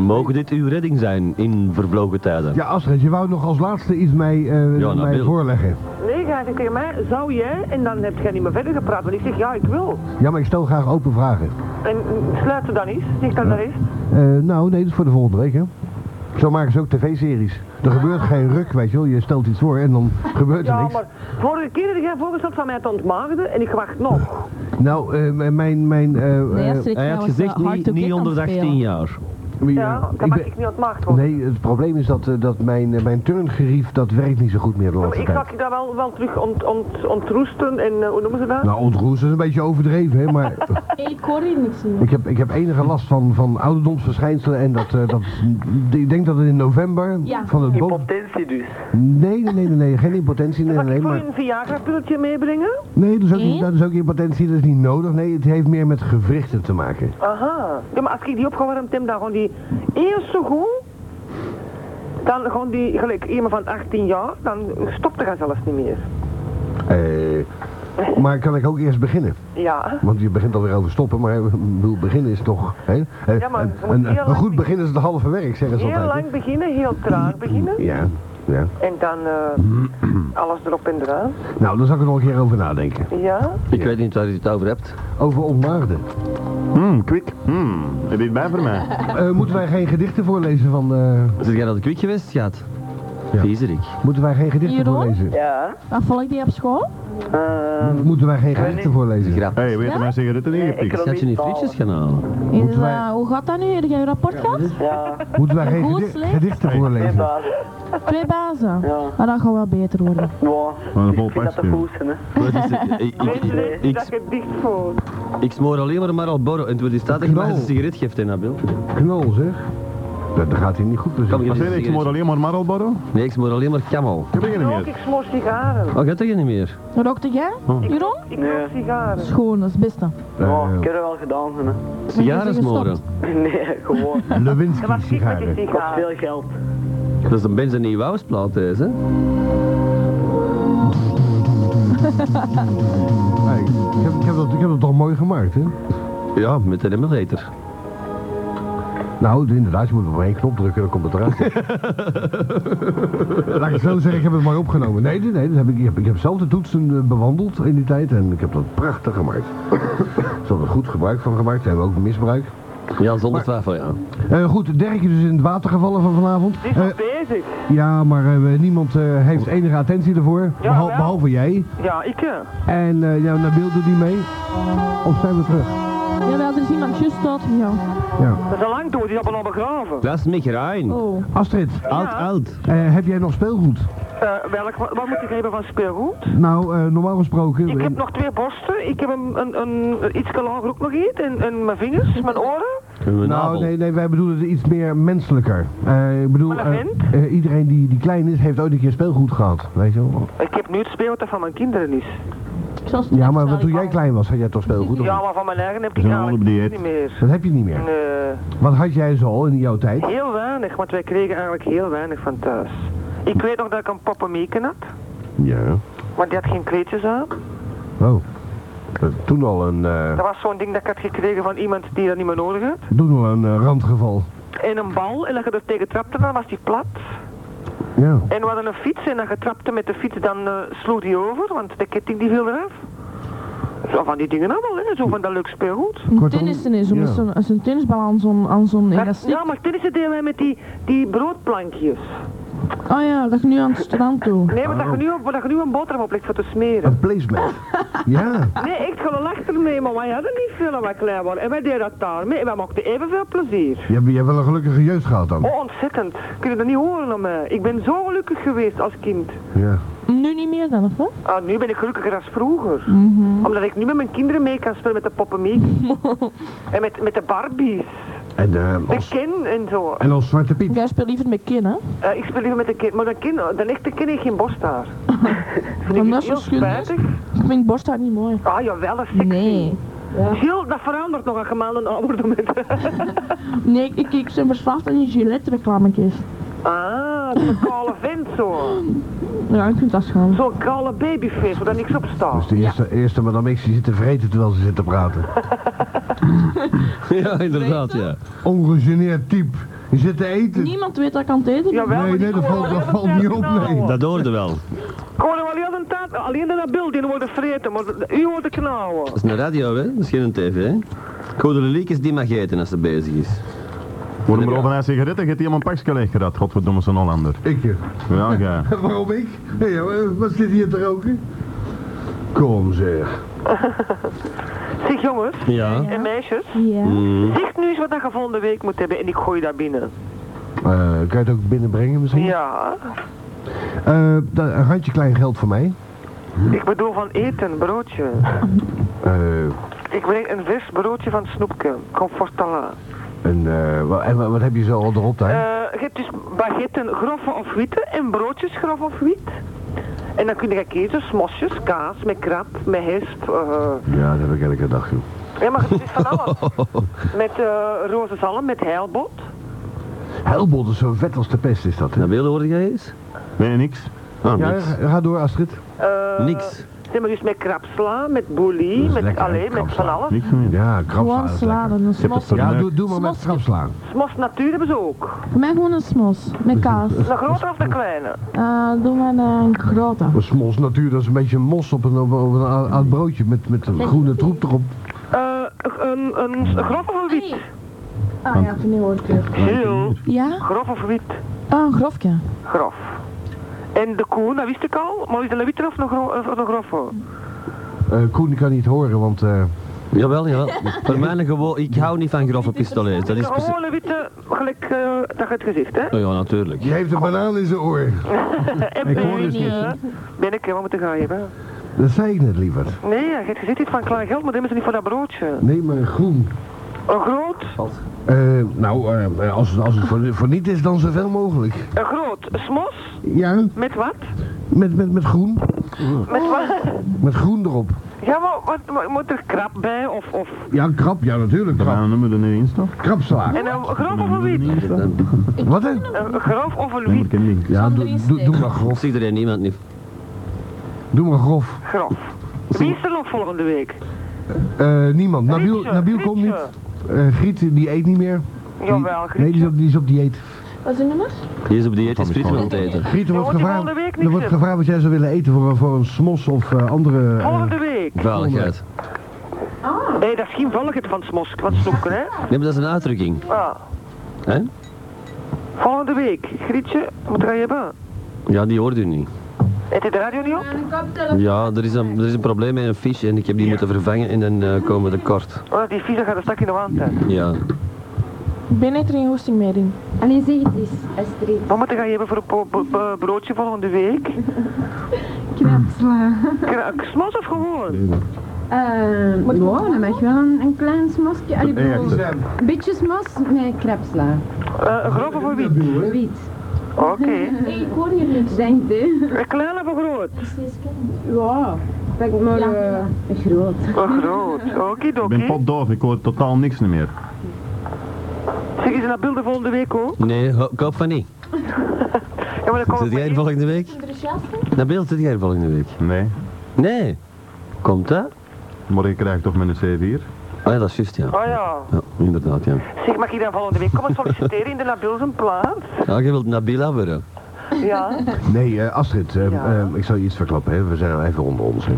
Mogen dit uw redding zijn in vervlogen tijden?
Ja, Astrid, je wou nog als laatste iets mij, eh,
Ja,
mij
Nabil.
voorleggen.
Nee, ga ik tegen mij, zou je? En dan heb jij niet meer verder gepraat, want ik zeg, ja, ik wil.
Ja, maar ik stel graag open vragen.
En mm, sluit er dan eens, zeg dan maar eens.
Eh, nou, nee, dat is voor de volgende week, hè. Zo maken ze ook tv-series. Er gebeurt geen ruk, weet je wel. Je stelt iets voor en dan gebeurt er
Ja,
niks.
maar vorige keer heb jij voorgesteld van mij te ontmaagden en ik wacht nog.
Nou, eh, m- mijn... mijn eh,
Nee,
eh,
Astrid, Hij had trouwens, gezegd eh, hard niet- to niet get aan onder het 18 spelen. jaar.
wie, eh,
nou, Ja,
ik
dan mag
ben-
ik niet ontmaagd worden.
Nee, het probleem is dat, eh, dat mijn, eh, mijn turngerief, dat werkt niet zo goed meer de
Ja,
laatste
maar ik
tijd.
ga je daar wel, wel terug ont, ont, ontroesten en eh, hoe noemen ze dat?
Nou, ontroesten is een beetje overdreven, hè, maar
Ik hoor hier niks meer.
ik heb, ik heb enige last van, van ouderdomsverschijnselen en dat, eh, dat... Ik denk dat het in november
Ja.
van het boven...
Potentie dus.
Nee, nee, nee, nee, nee, geen impotentie, nee, nee, nee,
Voor
maar...
een Viagra-pilletje meebrengen?
Nee, dat is, ook niet, dat is ook impotentie, dat is niet nodig. Nee, het heeft meer met gewrichten te maken.
Aha. Ja, maar als ik die opgewarmd heb, dan gaan die eerst zo goed. Dan gaan die, gelijk iemand van 18 jaar, dan stopt hij zelfs niet meer.
Eh, maar kan ik ook eerst beginnen?
Ja.
Want je begint alweer over stoppen, maar eh, ik bedoel, beginnen is toch... Hè? Eh,
Ja, maar
een,
je moet
een,
heel
een
lang
goed begin is het halve werk, zeggen ze
Heel
altijd. hè?
lang beginnen, heel traag beginnen.
Ja, ja.
En dan eh, alles erop en eraan.
Nou, daar zal ik er nog een keer over nadenken.
Ja.
Ik weet niet waar u het over hebt.
Over ontmaagden.
Hmm, kwik. Hmm, heb je het bij voor mij?
Eh, moeten wij geen gedichten voorlezen van... eh,
Zit jij naar de kwik geweest, schat? Ja. Viezerik.
moeten wij geen gedichten voorlezen?
Ja.
Waar volg ik die op school?
Eh,
Mo- moeten wij geen
ik weet
gedichten voorlezen?
Grap.
Hé, weet je
Ja?
maar sigaretten ingepikt?
Schat je niet frietjes gaan halen?
Is, eh, hoe gaat dat nu? Heb jij een rapport gehad?
Moeten wij geen
Goed,
gedi-
slecht.
gedichten voorlezen?
Twee bazen? Maar dat gaat wel beter worden.
Maar een vol
Dat de
pasje.
koersen, hè.
Wat is het? Ik, ik,
Mensen
ik,
weten
ik,
dat je dicht voor.
ik smoor alleen maar maar al borrel. En het wordt staat dat je mij
Knol.
een sigaret geeft, hè, Nabil?
Knol, zeg. Dat, dat gaat hier niet goed. dus
Kan
precies.
ik
Wat
eens
zei je,
een
ik smoor alleen maar Marlboro?
Nee, ik smoor alleen maar camel.
Ik heb er geen
Ook,
meer.
ik smoor sigaren.
Oh, gaat dat je niet meer?
Rookte jij?
Oh.
Jeroen?
Ik rook sigaren.
Schoon, dat is het beste.
Ja, ik heb er wel gedaan, hè.
Sigaren smoren.
Nee, gewoon.
Lewinsky sigaren.
Ik had veel geld.
Dat is een Benz en nieuwe huisplaat, deze. hè?
Hey, ik, heb, ik, heb dat, ik heb dat toch mooi gemaakt, hè?
Ja, met de emulator.
Nou, inderdaad, je moet op één knop drukken, dan komt het eruit. Laat ik het zo zeggen, ik heb het mooi opgenomen. Nee, nee, nee, dat heb ik, ik, heb, ik heb zelf de toetsen eh, bewandeld in die tijd en ik heb dat prachtig gemaakt. Ze hadden er goed gebruik van gemaakt, ze hebben ook misbruik.
Ja, zonder twijfel, ja.
Eh, goed, Dirk is dus in het water gevallen van vanavond.
Die is
Eh,
nog bezig.
ja, maar eh, niemand eh, heeft enige attentie ervoor,
Ja,
behal-
wel.
behalve jij.
Ja, ik. eh,
En eh ja, Nabil doet niet mee. Of zijn we terug?
Jawel, er is iemand juist dood gegaan.
Ja.
Dat is al lang dood, die hebben al begraven.
Dat is mich rein.
Oh.
Astrid,
Oud, oud.
eh, heb jij nog speelgoed?
Eh, welk, wat, wat moet ik hebben van speelgoed?
Nou, eh, normaal gesproken...
Ik heb nog twee borsten, ik heb een, een, een iets lager ook nog iets en, en mijn vingers, mijn oren.
Nou, nee, nee, wij bedoelen het iets meer menselijker. Eh, ik bedoel,
Maar dat
eh, eh, iedereen die, die klein is, heeft ooit een keer speelgoed gehad, weet je wel.
Ik heb nu het speelgoed dat van mijn kinderen is.
Ja, maar wat, toen jij klein was, had jij toch speelgoed? of
Ja,
niet?
maar van mijn eigen heb
We
ik
zijn
eigenlijk
allemaal op
niet meer.
Dat heb je niet meer.
Nee,
Wat had jij zo al in jouw tijd?
heel weinig, want wij kregen eigenlijk heel weinig van thuis. Ik weet nog dat ik een papa meeken had,
Ja.
maar die had geen kleedjes aan.
Oh. Eh, toen al een, eh,
Dat was zo'n ding dat ik had gekregen van iemand die dat niet meer nodig had.
toen al een eh, randgeval.
En een bal, en als je er tegen trapte, dan was die plat.
Ja.
En we hadden een fiets en dan getrapte met de fiets, dan eh, sloeg die over, want de ketting die viel eraf. Zo van die dingen allemaal, hè? zo van dat leuk speelgoed.
Een
Kortom,
tennissen is, om
ja.
is zo'n is een tennisbal aan zo'n... aan zo'n- en
Maar-
dat is niet-
ja, maar tennissen deden wij met die, die broodplankjes.
Oh ja, dat ik nu aan het strand toe.
Nee, maar dat je nu, op- dat je nu een boterham op legt voor te smeren.
Een placement. ja.
Nee, ik ga wel achter mee, maar wij hadden niet veel aan wij klein waren. En wij deden dat daarmee en wij maakten evenveel plezier.
Je hebt, je hebt wel een gelukkige jeugd gehad dan.
Oh, ontzettend. Kun je dat niet horen aan mij? Ik ben zo gelukkig geweest als kind.
Ja.
Nu niet meer dan, of wat?
Ah, nu ben ik gelukkiger als vroeger. Omdat ik nu met mijn kinderen mee kan spelen met de poppenmiek. en met, met de Barbies.
En, eh,
De
als,
Ken en zo.
en als Zwarte Piet.
Jij speelt liever met kin, hè?
Eh, ik speel liever met de Ken, maar de, kin, de echte Ken heeft geen borsthaar.
Omdat
Vind ik
ze
heel
schun is.
spijtig.
Ik vind borsthaar niet mooi.
Ah, jawel, dat is sexy.
Nee.
Heel, dat verandert nog een gemalen ouder met.
Nee, ik, ik, ik ben verslaafd aan die Gillette-reclametjes.
Ah, zo'n kale vent zo.
Ja, ik vind dat schaam.
Zo'n kale babyface waar daar niks op
Dus
staat.
de eerste, eerste madame X die zit te vreten terwijl ze zit te praten.
ja, inderdaad, ja.
Ongegeneerd type. Je zit te eten.
Niemand weet dat ik aan het eten ben.
nee, nee, dat valt, dat valt niet op, nee.
Dat hoorde wel.
Gewoon alleen een taart, alleen de bil, die worden vreten, maar de- u wordt knauwen.
Dat is een radio, hè? Dat is geen tv, hè? Ik hoor de leliekes die mag eten als ze bezig is.
Worden maar over een sigaretten, gaat iemand een pakje leeggerat. Godverdomme, zo'n Hollander.
Ik je.
Ja, ja.
Waarom ik? Hé, ja, wat zit hier te roken? Kom zeg.
Zeg jongens
Ja.
en meisjes,
Ja.
zeg nu eens wat dat je volgende week moet hebben en ik gooi daar binnen.
Eh, kan je het ook binnenbrengen misschien?
Ja,
Eh, da- een handje klein geld voor mij.
ik bedoel van eten, broodje.
Eh,
Ik breng een vers broodje van Snoepke, comfortala.
en, eh, wa- en wa- wat heb je zo al erop
Eh,
daar?
je hebt dus baguetten grove of witte en broodjes grof of wit. En dan kun je kiezen, smosjes, kaas, met krap, met hesp, eh,
Ja, dat heb ik elke dag joh.
Ja, maar het is van alles. Met eh roze zalm, met heilbot.
Helbot is zo vet als de pest is dat. hè?
Dat beelden hoorde jij eens?
Nee, niks.
Ah,
Ja,
niks.
ga ga door Astrid.
Eh,
Niks.
Zeg maar dus met krapsla, met boelie,
is
met,
lekker,
allee, met
krapsla.
van alles.
Niks meer.
Ja,
Gewoon
krapslaan.
slaan, een
is lekker.
heb het
smos.
voor-
Voor
Ja, doe, doe maar met
Smosje.
krapslaan.
Smos natuur hebben ze ook.
mij gewoon een smos, met kaas.
De grote of de kleine?
Eh, doe maar een grote.
Een smos natuurlijk, dat is een beetje mos op een, op een, op een a- aan het broodje met, met een groene troep erop.
Eh, een, een, een grof of een wit?
Ah ja, vind ik hoor ik weer.
Heel.
Ja?
Grof of wit?
Ah, een grofje.
Grof. En de koe, dat wist ik al, maar is dat een witte of een, gro of een grove?
Eh, Koen kan niet horen, want eh,
Jawel, ja. Voor mij gewoon... Ik hou niet van grove pistolet. Dat is
Oh, Een
precies...
gewone witte, gelijk eh, dat je het gezicht, hè?
Oh ja, natuurlijk.
die heeft een banaan in zijn oor.
En
Ik hoor dus
ben- ja. Eh, Ben ik helemaal te gaan hebben.
Dat zei ik net liever.
Nee, je hebt gezegd iets van klein geld, maar dat hebben ze niet voor dat broodje.
Nee, maar groen.
Een groot,
Eh, nou, eh, als, het- als het voor, voor niet is, dan zoveel mogelijk.
een groot smos,
Ja,
met wat?
met, met, met groen.
Met wat?
Met groen erop.
Ja, maar wat, maar moet er krap bij of... of...
Ja, krap, ja natuurlijk.
Gaan
Krap,
we nummer er nu in staan?
krapslaan.
En nou, een grof of een wit?
Wat hè?
Een grof of een
Nee, maar
wit
ik heb niks.
Ja, doe, doe, doe maar grof.
Ziet er niemand niet.
Doe maar grof.
grof. Wie is er nog volgende week?
Eh, niemand. Nabil,
Grietje,
Nabil komt niet.
Grietje.
Eh, Griet, die eet niet meer. Die-
Jawel,
Nee, die is
Grietje.
op, die is op dieet.
Wat is je nummer?
Die is op dieet, is frieten aan het eten.
Griet, er
Dan
wordt
wordt die
gevraagd,
volgende week
er
niks
wordt
hebben.
gevraagd wat jij zou willen eten voor, voor een smos of eh, andere... eh,
Volgende week.
Veiligheid.
Nee, dat is geen volgende van Smosk, van Snoeker, hè?
Nee, maar dat is een uitdrukking.
Ah.
Hè?
Volgende week. Grietje, wat ga je hebben?
Ja, die hoort u niet.
Heb je de radio niet op?
Ja, er is een, er is een probleem met een fiche en ik heb die moeten vervangen en dan eh, komen we tekort.
Oh, die vieze gaat een stak in de wand, hè.
Ja.
Ik ben net er geen hoesting meer in.
Allee, zeg het eens, Astrid.
Wat moet je gaan hebben voor een po- po- po- broodje volgende week?
Knapsla.
Kra- Smos of gewoon?
Eh, nou, dan mag je wel een, een klein smosje. Allee, bedoel, een beetje smos met krapsla.
Eh, een grof of een wit?
Wit.
Oké.
ik hoor hier niks. Denk je?
Een klein of een groot?
Ja. Pak maar eh, een groot.
Een groot.
Ik ben
Okidoki.
potdoof, ik hoor totaal niks meer.
Zeg eens naar beelden volgende week ook.
Nee, ho- koop van niet.
Ja, maar dan komen
Zit jij er volgende week? Naar beeld zit jij er volgende week?
Nee.
Nee. Komt dat?
Maar ik krijg toch mijn C4?
Ah ja, dat is juist, ja.
Oh ja.
Ja, inderdaad, ja.
Zeg, mag ik dan volgende week komen solliciteren in de Nabil zijn plaats?
Ja, Ah, je wilt Nabila worden.
Ja.
Nee, eh, Astrid, eh,
Ja.
eh, ik zal je iets verklappen. Hè. We zijn al even onder ons. Hè.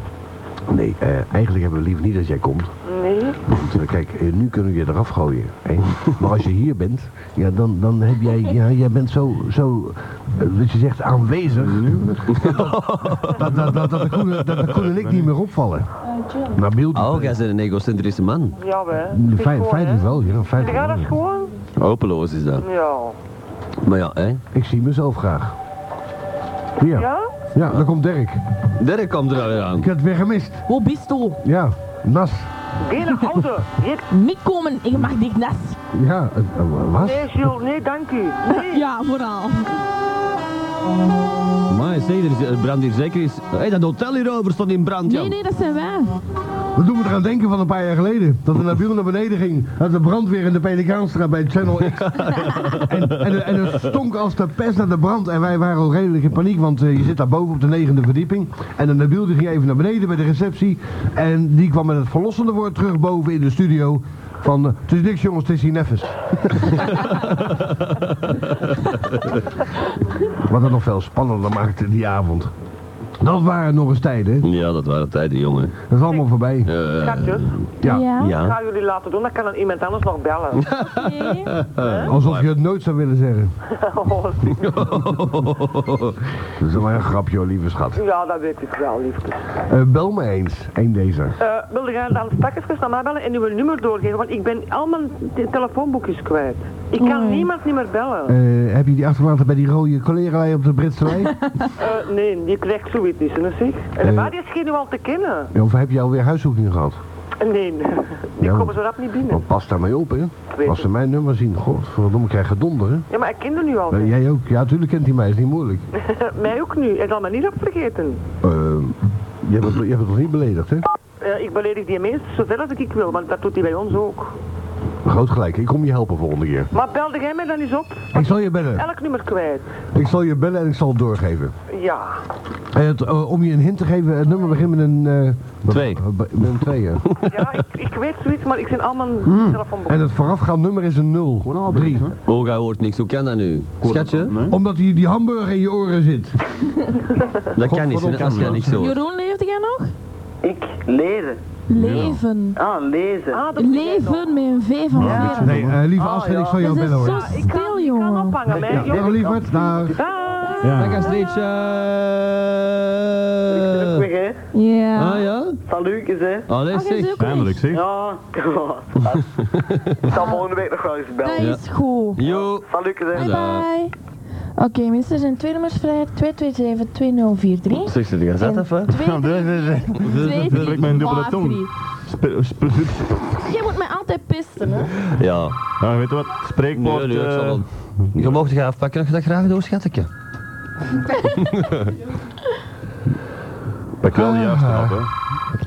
Nee, eh, eigenlijk hebben we liever niet dat jij komt.
Nee.
Natuurlijk, kijk, eh, nu kunnen we je eraf gooien. Hè? Maar als je hier bent, ja, dan, dan heb jij, ja, jij bent zo, zo eh, dat je zegt aanwezig. Dat, dat, dat, dat, de Koen, dat de Koen en ik niet meer opvallen. Nou, Nabil.
Oh, jij bent een egocentrische man.
Ja, we.
Mm, Fijn, feitelijk wel, ja. Feitelijk
Ja, dat
wel.
is gewoon.
Hopeloos is dat.
Ja.
Maar ja, hè?
Ik zie mezelf graag. Ja.
Ja?
Ja, daar komt Dirk.
Dirk komt er alweer aan.
Ik had het weer gemist.
Wo bist du?
Ja, Nas.
Geen auto.
Mitkomen, ik mag niet nas.
Ja, eh, eh, wat?
Nee, Jules, nee, dank u. Nee.
Ja, vooral.
Maar zeg, er, is- er brandt hier zeker eens. Hé, dat hotel hierover stond in brand, Jan.
Nee, nee, dat zijn wij.
Wat doen we eraan denken van een paar jaar geleden? Dat de Nabil naar beneden ging. Had de brandweer in de Pelikaanstraat bij Channel X. en, en, en het stonk als de pest naar de brand. En wij waren al redelijk in paniek, want eh, je zit daar boven op de negende verdieping. En de Nabil die ging even naar beneden bij de receptie. En die kwam met het verlossende woord terug boven in de studio. Van, eh, het is niks jongens, het is hier neffens. Wat het nog veel spannender maakte die avond. Dat waren nog eens tijden. hè?
Ja, dat waren tijden, jongen.
Dat is allemaal voorbij.
Schatjes,
eh. Ja.
ik
Ja.
ga jullie laten doen, dan kan dan iemand anders nog bellen.
Alsof je het nooit zou willen zeggen.
Oh,
Dat is wel een grapje, hoor, lieve schat.
ja, dat weet ik wel, liefde.
Eh, bel me eens, één deze.
Eh wilde jij dan straks even naar mij bellen en uw nummer doorgeven? Want ik ben al mijn te- telefoonboekjes kwijt. Ik kan niemand niet meer bellen.
Eh, heb je die achterlaten bij die rode collega op de Britse lijn?
Eh, nee, die krijgt zoiets niet, hè, zeg. En
Eh.
waar die is geen nu al te kennen.
Ja, of heb je alweer huiszoeking gehad?
Nee, die
Ja.
komen zo rap niet binnen.
Want pas daarmee op, hè?
weet
Als ze mijn nummer zien, godverdomme, krijg je donder, hè?
Ja, maar ik ken er nu al.
Eh, jij ook? Ja, natuurlijk kent hij mij, is niet moeilijk.
Mij ook nu, hij zal me niet op vergeten.
Eh, je, hebt het, je hebt het nog niet beledigd, hè?
Eh, ik beledig die mensen zoveel als ik, ik wil, want dat doet hij bij ons ook.
Groot gelijk, ik kom je helpen volgende keer.
Maar belde jij mij dan eens op?
Ik zal je bellen.
Elk nummer kwijt.
Ik zal je bellen en ik zal het doorgeven.
Ja.
Eh, het, eh, om je een hint te geven, het nummer begint met een... eh,
Twee.
Met een twee, ja.
Ja, ik, ik weet zoiets, maar ik zit allemaal telefoonboeken.
Hmm. En het voorafgaand nummer is een 0. Drie.
Oh, jij hoort niks. Hoe kan dat nu? Schatje?
Omdat die, die hamburger in je oren zit.
Dat kan niet, hè, als jij niks hoort.
Jeroen, leefde jij nog?
Ik leren.
Leven.
Ah, lezen.
Ah, dat moet jij nog.
Leven met een V van leren.
Nee, eh, lieve
Ah,
Astrid,
ja.
ik zal jou
Dat is
bellen
zo
hoor.
stil,
Ik kan
jongen.
ophangen, mij.
Ja, Eh. dag lieverd, dag.
Dag.
Ja.
Astridje.
Terug weg, hè.
Ja.
Ah ja?
Salukes, hè.
Allee,
Oh, jij is
zeg.
ook weg.
Eindelijk, zeg.
Ja, ik zal volgende week nog wel eens
Dat
bellen.
is goed.
Yo.
Salukes, hè.
Bye bye. Oké, mensen, er zijn twee nummers vrij. 227-2043.
Zeg, zit je zat even?
Ja, dat- dat- dat- dat- dat trekt mijn dubbele tong. Sp- sp-
Jij moet mij altijd pisten, hè?
Ja.
Ah, weet je wat? Spreekwoord.
Nee, nee, ik zal
eh,
wel- Je mocht gaan afpakken als je dat graag doet, schatje.
Pak wel de juiste op, hè.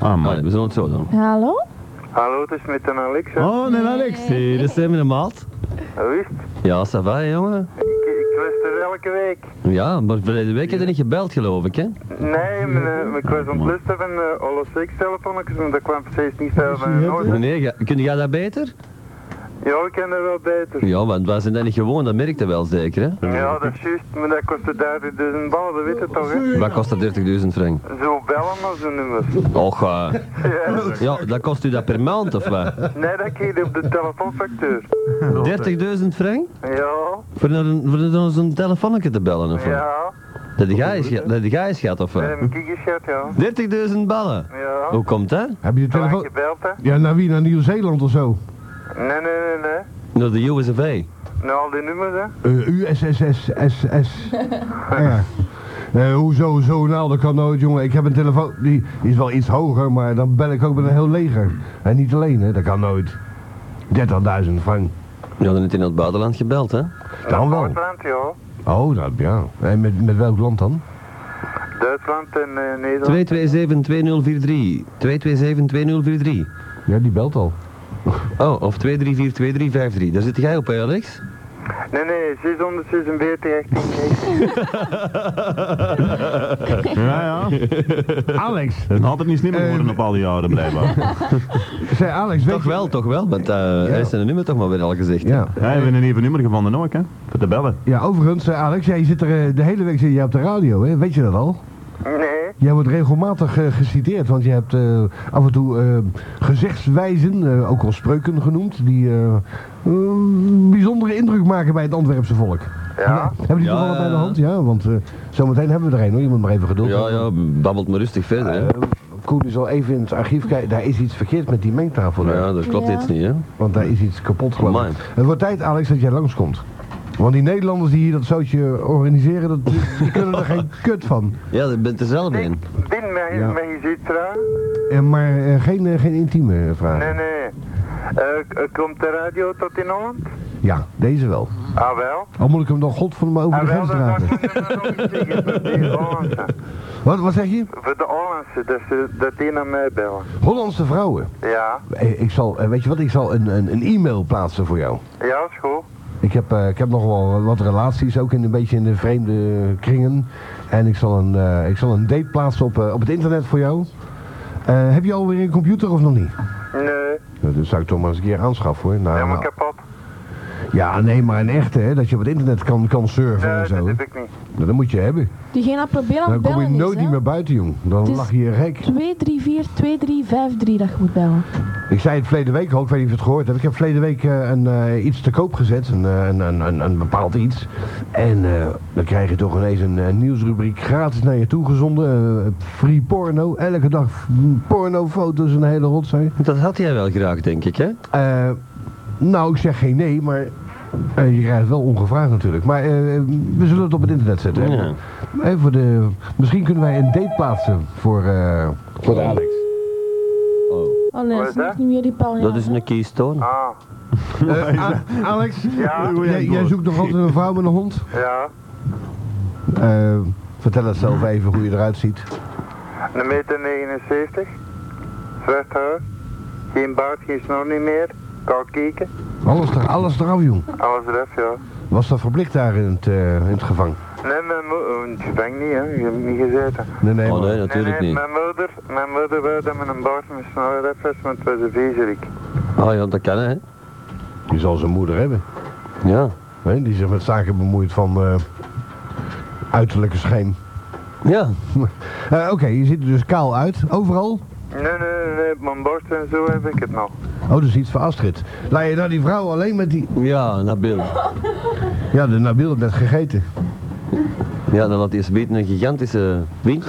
Ah,
Maar
man.
we zullen het zo doen.
Hallo?
Hallo, het is met een Alexa.
Oh, nee, Alex.
Hey, dat zijn we de maat.
Wist,
Ja, ça va, hè, jongen.
ik, ik luister elke week.
Ja, maar verleden week heb je niet gebeld, geloof ik, hè?
Nee, mijn, eh, mijn- ik was aan het luisteren van uh, alle telefoonnetjes, maar dat kwam precies niet uit mijn oor.
Nee, ga- kun jij dat beter?
Ja, ik ken dat wel beter.
Ja, want wij zijn dat niet gewoon, dat merkte wel zeker, hè?
Ja, dat is juist, maar dat kostte 30.000 ballen, dat weet je toch, hè?
Wat kost dat 30.000 frank?
Zo bellen maar zo'n nummer.
Och, eh, ja, dat kost u dat per maand of wat?
Nee, dat kreeg je op de telefoonfactuur.
30.000 frank?
Ja,
Voor naar een- voor naar zo'n telefoonnetje te bellen of wat?
ja.
Dat die gij is ge- dat die gij is gaat of
Dat
wat?
heb ik geschat, ja.
30.000 ballen?
Ja.
Hoe komt dat?
Heb je de
Heb ik
telefoon?
gebeld, hè?
Ja, naar wie? Naar Nieuw-Zeeland of zo?
Nee, nee, nee, nee.
Door de USV.
Nou, al die nummers, hè?
Eh USSSSS. ja. Eh, hoezo, zo, nou, dat kan nooit, jongen. Ik heb een telefoon, die is wel iets hoger, maar dan bel ik ook met een heel leger. En niet alleen, hè, dat kan nooit. 30.000 frank.
Je had net in het buitenland gebeld, hè?
Dan wel.
Duitsland, ja.
Oh, dat, ja. En met, met welk land dan?
Duitsland en eh, Nederland.
227-2043. 227-2043.
Ja, die belt al.
Oh, of 234-2353. Daar zit jij op, hè, Alex?
Nee, nee, 646, 18,
Ja, ja.
Alex.
Dat is nog altijd niet slimmer geworden op al die jaren, blijkbaar.
Zei Alex, weet
Toch
je-
wel, toch wel, want eh hij is zijn nummer toch maar weer al gezegd.
Ja.
Ja, we hebben een even nummer gevonden ook, hè. Voor te bellen.
Ja, overigens, eh, Alex, jij zit er eh, de hele week zit jij op de radio, hè? Weet je dat al?
Nee,
Jij wordt regelmatig eh, geciteerd, want je hebt eh, af en toe eh, gezichtswijzen, eh, ook wel spreuken genoemd, die eh, een bijzondere indruk maken bij het Antwerpse volk.
Ja.
Hebben die
Ja,
toch allemaal bij de
ja, ja.
hand? Ja, want eh, zometeen hebben we er een hoor, je moet maar even geduld Eh,
Ja, ja, babbelt maar rustig verder. hè.
Koen is al even in het archief kijken. Daar is iets verkeerd met die mengtafel. daar.
Ja, dat klopt Ja. iets niet, hè?
Want daar is iets kapot geloof
Amai.
ik. Het wordt tijd, Alex, dat jij langskomt. Want die Nederlanders die hier dat zootje organiseren, dat, die, die kunnen er geen kut van.
Ja, je bent er zelf in.
Bin met,
Ja.
met je zitra.
En maar eh, geen, eh, geen intieme vragen.
Nee, nee. Eh, k- eh, komt de radio tot in Holland?
Ja, deze wel.
Ah wel.
Al moet ik hem dan godverdomme over
Ah,
de
wel,
grens
dat-
dragen. Wat, wat zeg je?
Voor de Hollandse, dat, ze, dat die naar mij bellen.
Hollandse vrouwen.
Ja.
Eh, Ik zal, eh, weet je wat, ik zal een, een, een e-mail plaatsen voor jou.
Ja, is goed.
Ik heb, eh, ik heb nog wel wat relaties, ook in een beetje in de vreemde kringen. En ik zal een, eh, ik zal een date plaatsen op, eh, op het internet voor jou. Eh, heb je alweer een computer of nog niet?
Nee.
Nou, dat zou ik toch maar eens een keer aanschaffen hoor. Nou,
Ja, maar
Ah,
nou.
kapot.
Ja, nee, maar een echte hè, dat je op het internet kan, kan surfen en zo.
Dat heb ik niet.
Nou, dat moet je hebben.
Diegene probeert aan
Dan
het
kom je
bellen
nooit
is,
niet meer buiten, jong. Dan
Het is-
lag je hier gek.
234 2353 dat je moet bellen.
Ik zei het verleden week al, ik weet niet of je het gehoord hebt. Ik heb verleden week eh, een, eh, iets te koop gezet, een, eh, een, een, een, een bepaald iets. En eh, dan krijg je toch ineens een eh, nieuwsrubriek gratis naar je toegezonden. gezonden. Eh, free porno, elke dag f- pornofoto's en een hele rotzooi.
Dat had jij wel graag, denk ik, hè?
Eh, nou, ik zeg geen nee, maar eh, je krijgt het wel ongevraagd natuurlijk. Maar eh, we zullen het op het internet zetten. hè?
Ja.
Eh, voor de, misschien kunnen wij een date plaatsen voor, eh, voor de Alex.
Oh nee, dat is niet meer die pijl.
Dat is een keystone.
Ah.
Eh, A- Alex,
Ja?
jij, jij zoekt nog altijd een vrouw met een hond?
Ja.
Eh, vertel het zelf even hoe je eruit ziet.
Een meter 79. Zwart haar. Geen baard, geen snor niet meer. Koud kieken.
Alles, er, alles eraf, jong.
Alles eraf, ja.
Was dat verplicht daar in het, eh, in het gevang?
Nee, mijn moeder... Ik denk niet, hè. Je hebt niet gezeten.
Nee, nee,
Oh
maar-
nee, natuurlijk niet.
Mijn moeder, mijn moeder wou dat met een baard met snor eraf was, want het was een viezerik.
Ah ja, dat kan, hè?
Die zal zijn moeder hebben.
Ja.
Hè, die zich met zaken bemoeit van eh, uiterlijke schijn.
Ja.
Oké, je ziet er dus kaal uit, overal.
Nee, nee, nee, op mijn borst en zo heb ik het nog.
Oh, dus iets voor Astrid. Laat je nou die vrouw alleen met die...
Ja, Nabil.
Ja, de Nabil heeft net gegeten.
Ja, dan had hij eens weten een gigantische wind.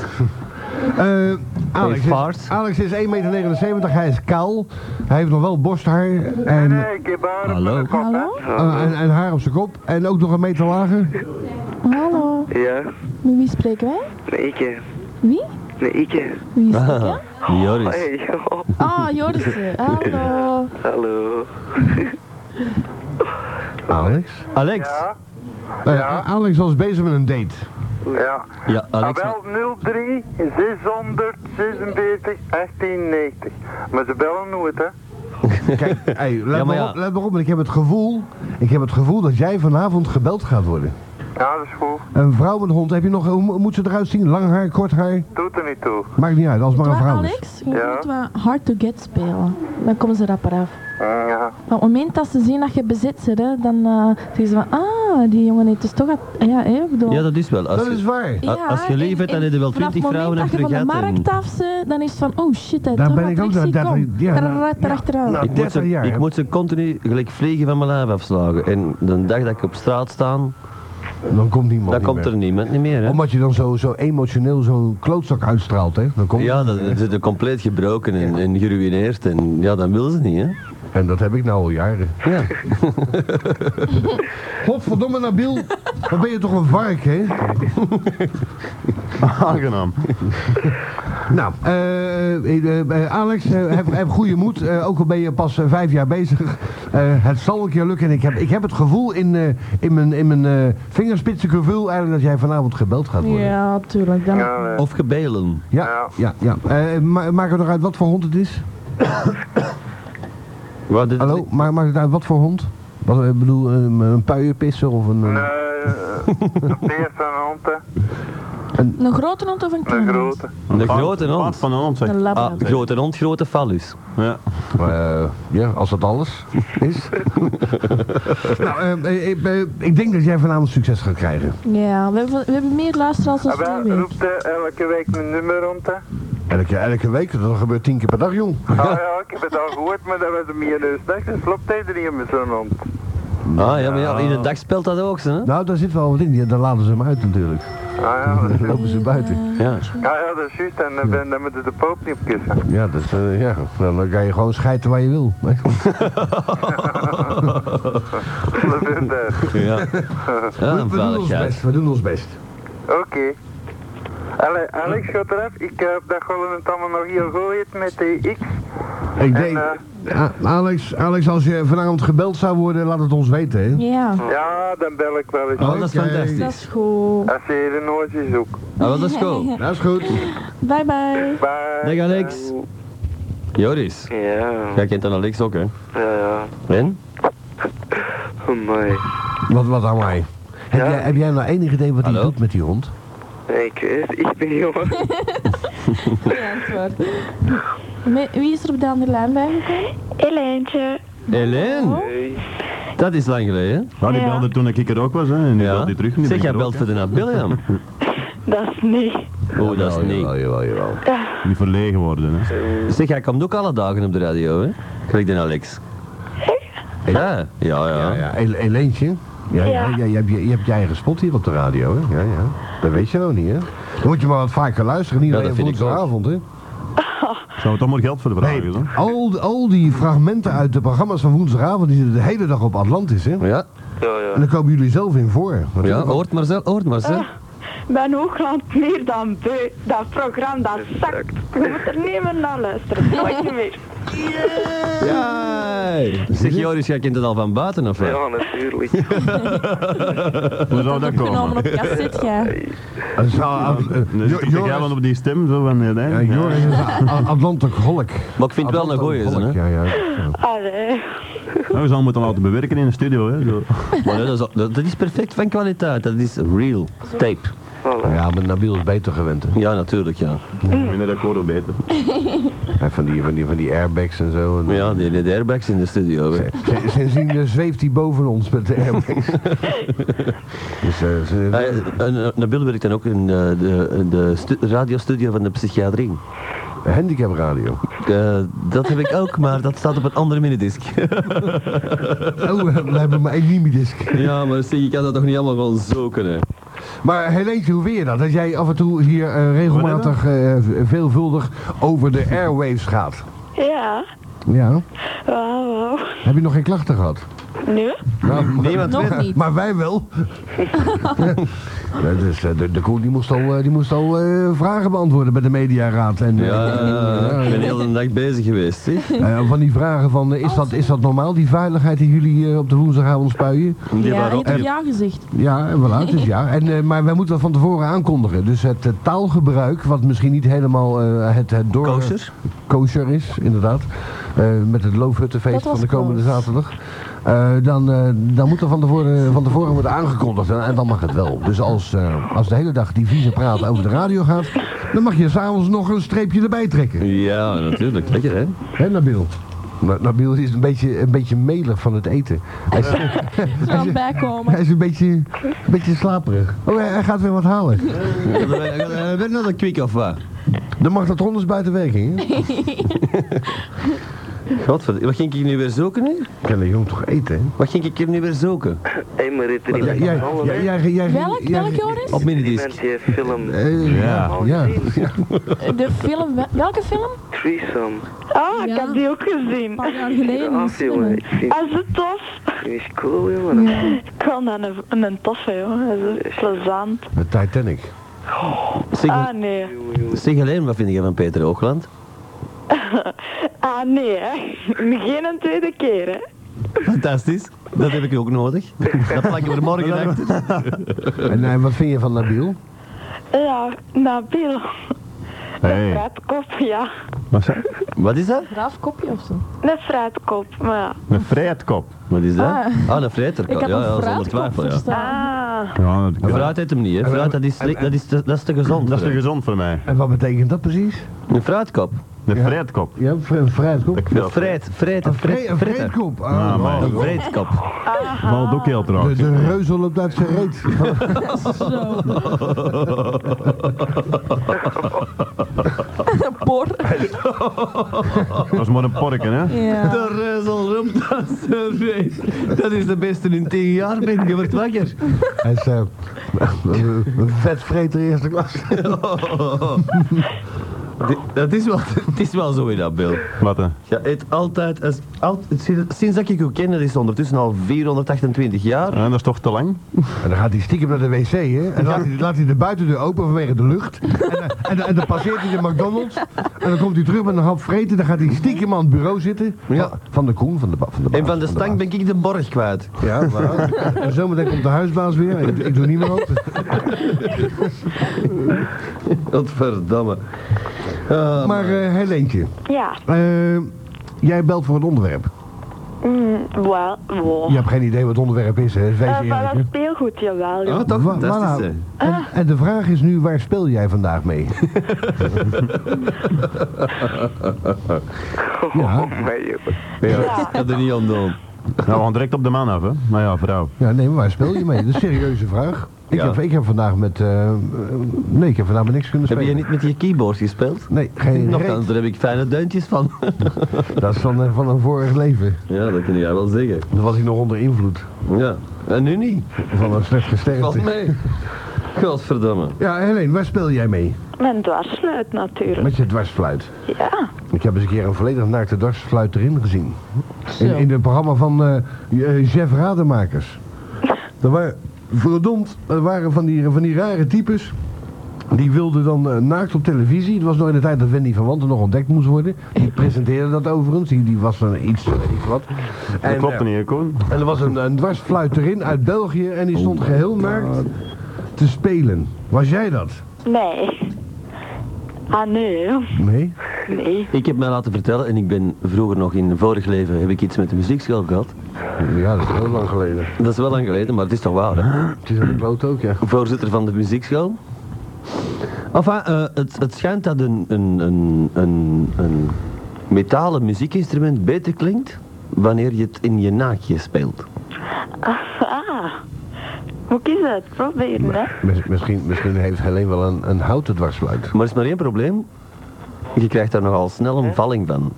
Eh, Alex,
vaart.
is, Alex is 1,79 meter, hij is kaal. Hij heeft nog wel borsthaar. En,
Nee, ik heb haar op mijn kop, hè.
Eh, en, en haar op zijn kop. En ook nog een meter lager.
Hallo,
Ja,
met wie spreken wij?
nee, ik. hè.
Wie?
Nee, ik. hè.
Wie is het? ja?
Joris.
Hey, joh.
Ah, Joris. Hallo.
Hallo.
Alex?
Alex.
Eh, Alex was bezig met een date.
Ja.
Ja, Alex.
Ah, wel 03 646 1890. Maar ze bellen nooit, hè?
Kijk, hey,
Ja,
let,
maar
maar
ja.
op, let maar op, want ik heb het gevoel, ik heb het gevoel dat jij vanavond gebeld gaat worden.
Ja, dat is goed.
Een vrouw met een hond, heb je nog, hoe mo- moet ze eruit zien? Lang haar, kort haar?
Doet er niet toe.
Maakt niet uit, als het maar een
Maar
vrouw is.
Alex, je
Ja?
moet wel hard to get spelen. Dan komen ze rapper af.
Ja.
Maar op het moment dat ze zien dat je bezit zit, hè, dan eh, zeggen ze van, ah, die jongen heeft dus toch... wat- Ja, hè, ik bedoel...
Ja, dat is wel. Als
Dat
je-
is waar.
A- als je
en-
lief hebt, dan
en
heb je wel
vanaf
20 vrouwen
het
achter
moment
de
dat je van de
gaten.
markt af zit, dan is het van, oh shit, hè,
Daar
toch
ben
wat
ik ook
trictie,
daar- daar-
kom.
ja,
Trarara, trachteraan.
Nou,
Ik moet,
30
ze,
jaar.
ik
hè?
moet ze continu gelijk vliegen van mijn lijf afslagen. En de dag dat ik op straat sta,
Dan komt niemand
dan
niet
komt
meer.
er niemand niet meer. Hè?
Omdat je dan zo, zo emotioneel zo'n klootzak uitstraalt, hè? Dan komt...
Ja, dan dan zit er compleet gebroken en, en geruineerd. En ja, dan wil ze niet, hè?
En dat heb ik nou al jaren.
Ja.
Godverdomme Nabil, wat ben je toch een vark, hè?
Aangenaam.
Nou, eh, eh, eh, Alex, eh, heb, heb goede moed. eh, ook al ben je pas eh, vijf jaar bezig. Eh, het zal een keer lukken. En ik heb, ik heb het gevoel in, eh, in mijn, in mijn eh, vingerspitsengevoel eigenlijk dat jij vanavond gebeld gaat worden.
Ja, tuurlijk. Dan...
Ja, nee.
Of gebelen.
Ja, ja, ja. Eh, ma- maakt het nog uit wat voor hond het is?
Wat, dit-
Hallo, ma maakt het uit wat voor hond? Wat, eh, bedoel,
Nou,
een, een puienpisser of een... eh,
Nee, eh, een beest en een hond, hè.
eh,
Een grote hond of een
Een
kleine hond?
grote.
De grote hond. van hond,
zeg. Een labrador.
grote hond, grote fallus. Ja.
eh, ja, als dat alles is. nou, eh, ik, eh, ik denk dat jij vanavond succes gaat krijgen.
Ja, we hebben, we hebben meer luisteraars dan vorige
Abel
week.
roept eh, elke week mijn nummer rond, hè.
Elke, elke week, dat gebeurt tien keer per dag, jong.
Ah ja, ik heb het al gehoord, maar dat was hem hier dus. Dat klopt hij er niet met zo'n hond.
Ah ja, maar ja, in de dag speelt dat ook, hè?
Nou, daar zit wel wat in. Ja, daar laten ze hem uit natuurlijk.
Ah ja, dat is
Dan lopen ze buiten.
Ja.
Ah ja, dat is juist. En eh, ben, dan moet je de poot niet op kussen.
Ja, dat is, eh, ja, nou, dan kan je gewoon schijten waar je wil.
Dat is het.
Ja. Ja,
we, we doen ons
veiligheid.
best, we doen ons best.
Oké. Allee, Alex, gaat eraf. Ik heb dat gewoon het allemaal nog heel goed heet met de X.
Ik denk, A- Alex, Alex, als je vanavond gebeld zou worden, laat het ons weten. Hè?
Ja.
Ja, dan bel ik wel eens.
Oh, dat is Oké. fantastisch.
Dat is goed.
Als je hier een oortje zoekt.
Ah, dat is cool.
Dat is goed.
Bye bye.
Bye.
Dag Alex. Joris.
Ja,
Jij kent dan Alex ook, hè?
ja, ja.
En?
Amai.
Wat, wat aan mij. Heb, jij, heb jij nou enig idee wat hij doet met die hond?
Nee, ik weet het, ik ben heel...
Ja, het wordt. Me- Wie is er op de andere lijn bijgekomen? Eleentje.
Helen? Dat is lang geleden.
Ja, die
Ja.
belde toen ik er ook was, hè. En die belde die terug. en die
Zeg,
ben
jij
ik er
belt
ook,
voor de Nabilliam.
Dat is niet.
Oh, dat is niet.
Nou, Jawel, jawel.
hè. Niet verlegen worden, hè.
Zeg, jij komt ook alle dagen op de radio, hè? Gelijk de Alex. Ja, ja, ja.
Ja, Ele- Eleentje? Ja, ja. ja, je, hebt, je, je hebt je eigen spot hier op de radio, hè? Ja, ja. Dat weet je nog niet, hè? Dan moet je maar wat vaker luisteren, niet
Ja,
alleen
dat vind ik ook.
woensdagavond, hè?
Zou het allemaal geld voor de vraag willen?
Al, al die fragmenten uit de programma's van woensdagavond, die zitten de hele dag op Atlantis, hè?
Ja.
Ja,
En daar komen jullie zelf in voor. Wat-
Ja,
wat-
hoort maar zelf, hoort maar zelf.
Ben Hoogland meer dan beu. Dat programma, dat zakt. Je moet er niet meer naar luisteren. Nooit meer.
Ja! Zeg, Joris, jij kent het al van buiten, of wat?
Ja, natuurlijk.
Hoe zou dat
Genomen op
komen?
cassette, ja.
Dat is wel- eh,
Nee,
Jo-
ik kijk
Joris-
wel op die stem, zo van... eh,
Ja,
nee,
Joris is een A- Atlantic Holk.
Maar ik vind het wel een goeie,
Atlantic
hè?
Holk, Ja, ja.
Allee.
Nou, we zouden moeten laten bewerken in de studio, hè. Zo.
Maar nee, dat, is, dat, dat is perfect van kwaliteit. Dat is real tape.
Ja, maar Nabil is beter gewend, hè?
Ja, natuurlijk, ja.
Minder akkoorden beter.
Hij heeft Van die, van, die, van die airbags en zo. En,
Ja, die, die airbags in de studio. hè.
Z- Sindsdien eh, zweeft hij boven ons met de airbags. dus, eh, ze-
Hij- en, eh, Nabil werkt dan ook in eh, de, de stu- radiostudio van de psychiatrie.
Handicapradio.
Eh, dat heb ik ook, maar dat staat op een andere minidisc.
Oh, we hebben- we hebben maar één mimidisc.
ja, maar zie, je kan dat toch niet allemaal gewoon zoeken, hè?
Maar Helene, hoe weer je dat? Dat jij af en toe hier eh, regelmatig, eh, veelvuldig over de airwaves gaat.
Ja.
Ja.
Wauw, wauw.
Heb je nog geen klachten gehad?
Nu?
Nou,
Niemand
Nog weet. niet.
Maar wij wel. Ja, dus, eh, de, de Koen die moest al, eh, die moest al eh, vragen beantwoorden bij de mediaraad. En, eh,
Ja,
eh,
ik ben heel de dag bezig geweest, zie.
eh, van die vragen van, eh, is, dat, is dat normaal, die veiligheid die jullie eh, op de woensdagavond spuien?
Ja,
waren
je
op-
hebt op ja gezegd.
Ja, en voilà, het is ja. En, eh, maar wij moeten dat van tevoren aankondigen. Dus het eh, taalgebruik, wat misschien niet helemaal eh, het, het door...
Kosher?
kosher is, inderdaad. Eh, met het
Dat
Loofhuttenfeest
was
van de komende
close.
zaterdag. Eh, dan, eh, dan moet er van tevoren, van tevoren worden aangekondigd. En, en dan mag het wel. Dus als, eh, als de hele dag die vieze praat over de radio gaat... dan mag je s'avonds nog een streepje erbij trekken.
Ja, natuurlijk. Lekker, hè?
Hè, Nabil? Na- Nabil is een beetje, een beetje melig van het eten. Hij is,
Gaan bijkomen.
hij is een, beetje, een beetje slaperig. Oh, hij, hij gaat weer wat halen.
Ben dat een kwik of wat?
Dan mag dat honders buiten werking, hè?
Godverdomme, wat ging ik nu weer zoeken, hè?
Kan een jong toch eten, hè?
Wat ging ik hier nu weer zoeken?
Hé, maar dit is
Jij, jij, jij, jij, jij-
Welk,
jij-
welk Joris?
Op minidisc.
Iemand die heeft film.
Eh,
Ja.
ja.
De film, wel- welke film?
Threesome.
Ah,
Ja.
ik heb die ook
Een
gezien.
paar jaar geleden.
Af, jongen. Ik vind
Is het tof?
het is cool, jongen.
Ik vond dat een, een toffe, jongen. Dat is plezant.
De Titanic.
Zeg,
Ah, nee.
zeg alleen, wat vind jij van Peter Oogland?
Ah, nee, hè. Geen een tweede keer, hè.
Fantastisch. Dat heb ik ook nodig. Dat plakken we er morgen achter.
En eh, wat vind je van Nabil?
Ja, Nabil. Een
Hey,
fruitkop, ja.
wat zei
Wat is dat?
Raaf kopje of zo.
Een fruitkop, maar ja.
Een vrijheidkop.
Wat is dat?
Ah.
Ah, een vreter.
Ik heb
ja,
een
ja, zonder
fruitkop
twijfel, ja.
verstaan.
Ah,
Ja.
Ja, dat-
Fruit eet hem niet, hè. Fruit, dat is, li- dat is, te, dat is te gezond.
Dat is te gezond voor mij. En wat betekent dat precies?
Een fruitkop.
Een fruitkop.
Ja, een fruitkop.
Een fruit, fruit, een fruit.
Een vreedkop.
Ja,
Ah,
maar-
Een vreedkap.
Valt ook heel
De,
trouwens.
de reuzel loopt uit zijn reet.
Por.
Dat is maar een porken, hè?
De reuzel roept dat ze eh, Dat is de beste in tien jaar, ben je wordt wakker.
Hij is eh, een vetvreter eerste klas.
Di- Dat is wel, het is wel zo in dat beeld.
Wat hè?
Ja, het altijd, als, altijd, sinds sinds dat ik u ken, dat is ondertussen al 428 jaar.
En dat is toch te lang?
En dan gaat hij stiekem naar de wc, hè? En laat hij, laat hij de buitendeur open vanwege de lucht. En, dan- en, dan- en dan passeert hij de McDonald's. En dan komt hij terug met een hap vreten. Dan gaat hij stiekem aan het bureau zitten. Van, van de koen, van de, ba- van de baas,
En van de stank ben ik de borg kwijt.
baas. Ja, maar. En zometeen komt de huisbaas weer. Ik, ik doe niet meer open.
Godverdamme. Ah,
Maar eh Helentje,
Ja.
eh, jij belt voor een onderwerp.
Mm, wel, wow.
Je hebt geen idee wat het onderwerp is, hè? Wees
Eh, van
eerlijk,
dat
hè?
speelgoed, jawel. joh.
Ah, toch?
Wa-
Fantastisch,
voilà.
hè.
En, en de vraag is nu, waar speel jij vandaag mee?
Oh, mijn jongen.
Ja, dat er niet aan doen.
Nou, we gaan direct op de man af, hè? Nou ja, vrouw.
Ja, nee, maar waar speel je mee? Dat is een serieuze vraag. Ik,
Ja.
heb, ik heb vandaag met... eh, eh, nee, ik heb vandaag met niks kunnen
Heb
spelen.
je niet met je keyboard gespeeld?
Nee, geen
Nochtans,
reet.
daar heb ik fijne duintjes van.
Dat is van, eh, van een vorig leven.
Ja, dat kun jij wel zeggen.
Dan was ik nog onder invloed
Ja, en nu niet.
van een slecht
Valt
gesternte.
mee. Godverdamme.
Ja, Helene, waar speel jij mee?
Mijn dwarsluit natuurlijk.
Met je dwarsfluit.
Ja.
Ik heb eens een keer een volledig naakte dwarsfluit erin gezien. In, in het programma van eh, eh Jeff Rademakers. Er waren, verdomd, er waren van die, van die rare types. Die wilden dan eh, naakt op televisie. Het was nog in de tijd dat Wendy van Wanten nog ontdekt moest worden. Die presenteerde dat overigens. Die, die was dan iets, eh, weet ik wat.
Dat klopt
eh,
niet, Koen.
En er was een, een dwarsfluit erin uit België. En die stond geheel naakt te spelen. Was jij dat?
Nee. Ah, nee. joh.
Nee.
Nee.
Ik heb mij laten vertellen, en ik ben vroeger nog in een vorig leven, heb ik iets met de muziekschool gehad.
Ja, dat is heel lang geleden.
Dat is wel lang geleden, maar het is toch waar, hè?
Het is aan de kloot ook, ja.
Voorzitter van de muziekschool. Enfin, eh, het, het schijnt dat een, een, een, een, een metalen muziekinstrument beter klinkt wanneer je het in je naakje speelt.
Ah. Hoe is dat? Proberen, hè?
Miss- misschien, misschien heeft Helene wel een, een houten dwarsfluit.
Maar er is maar één probleem. Je krijgt daar nogal snel een valling van.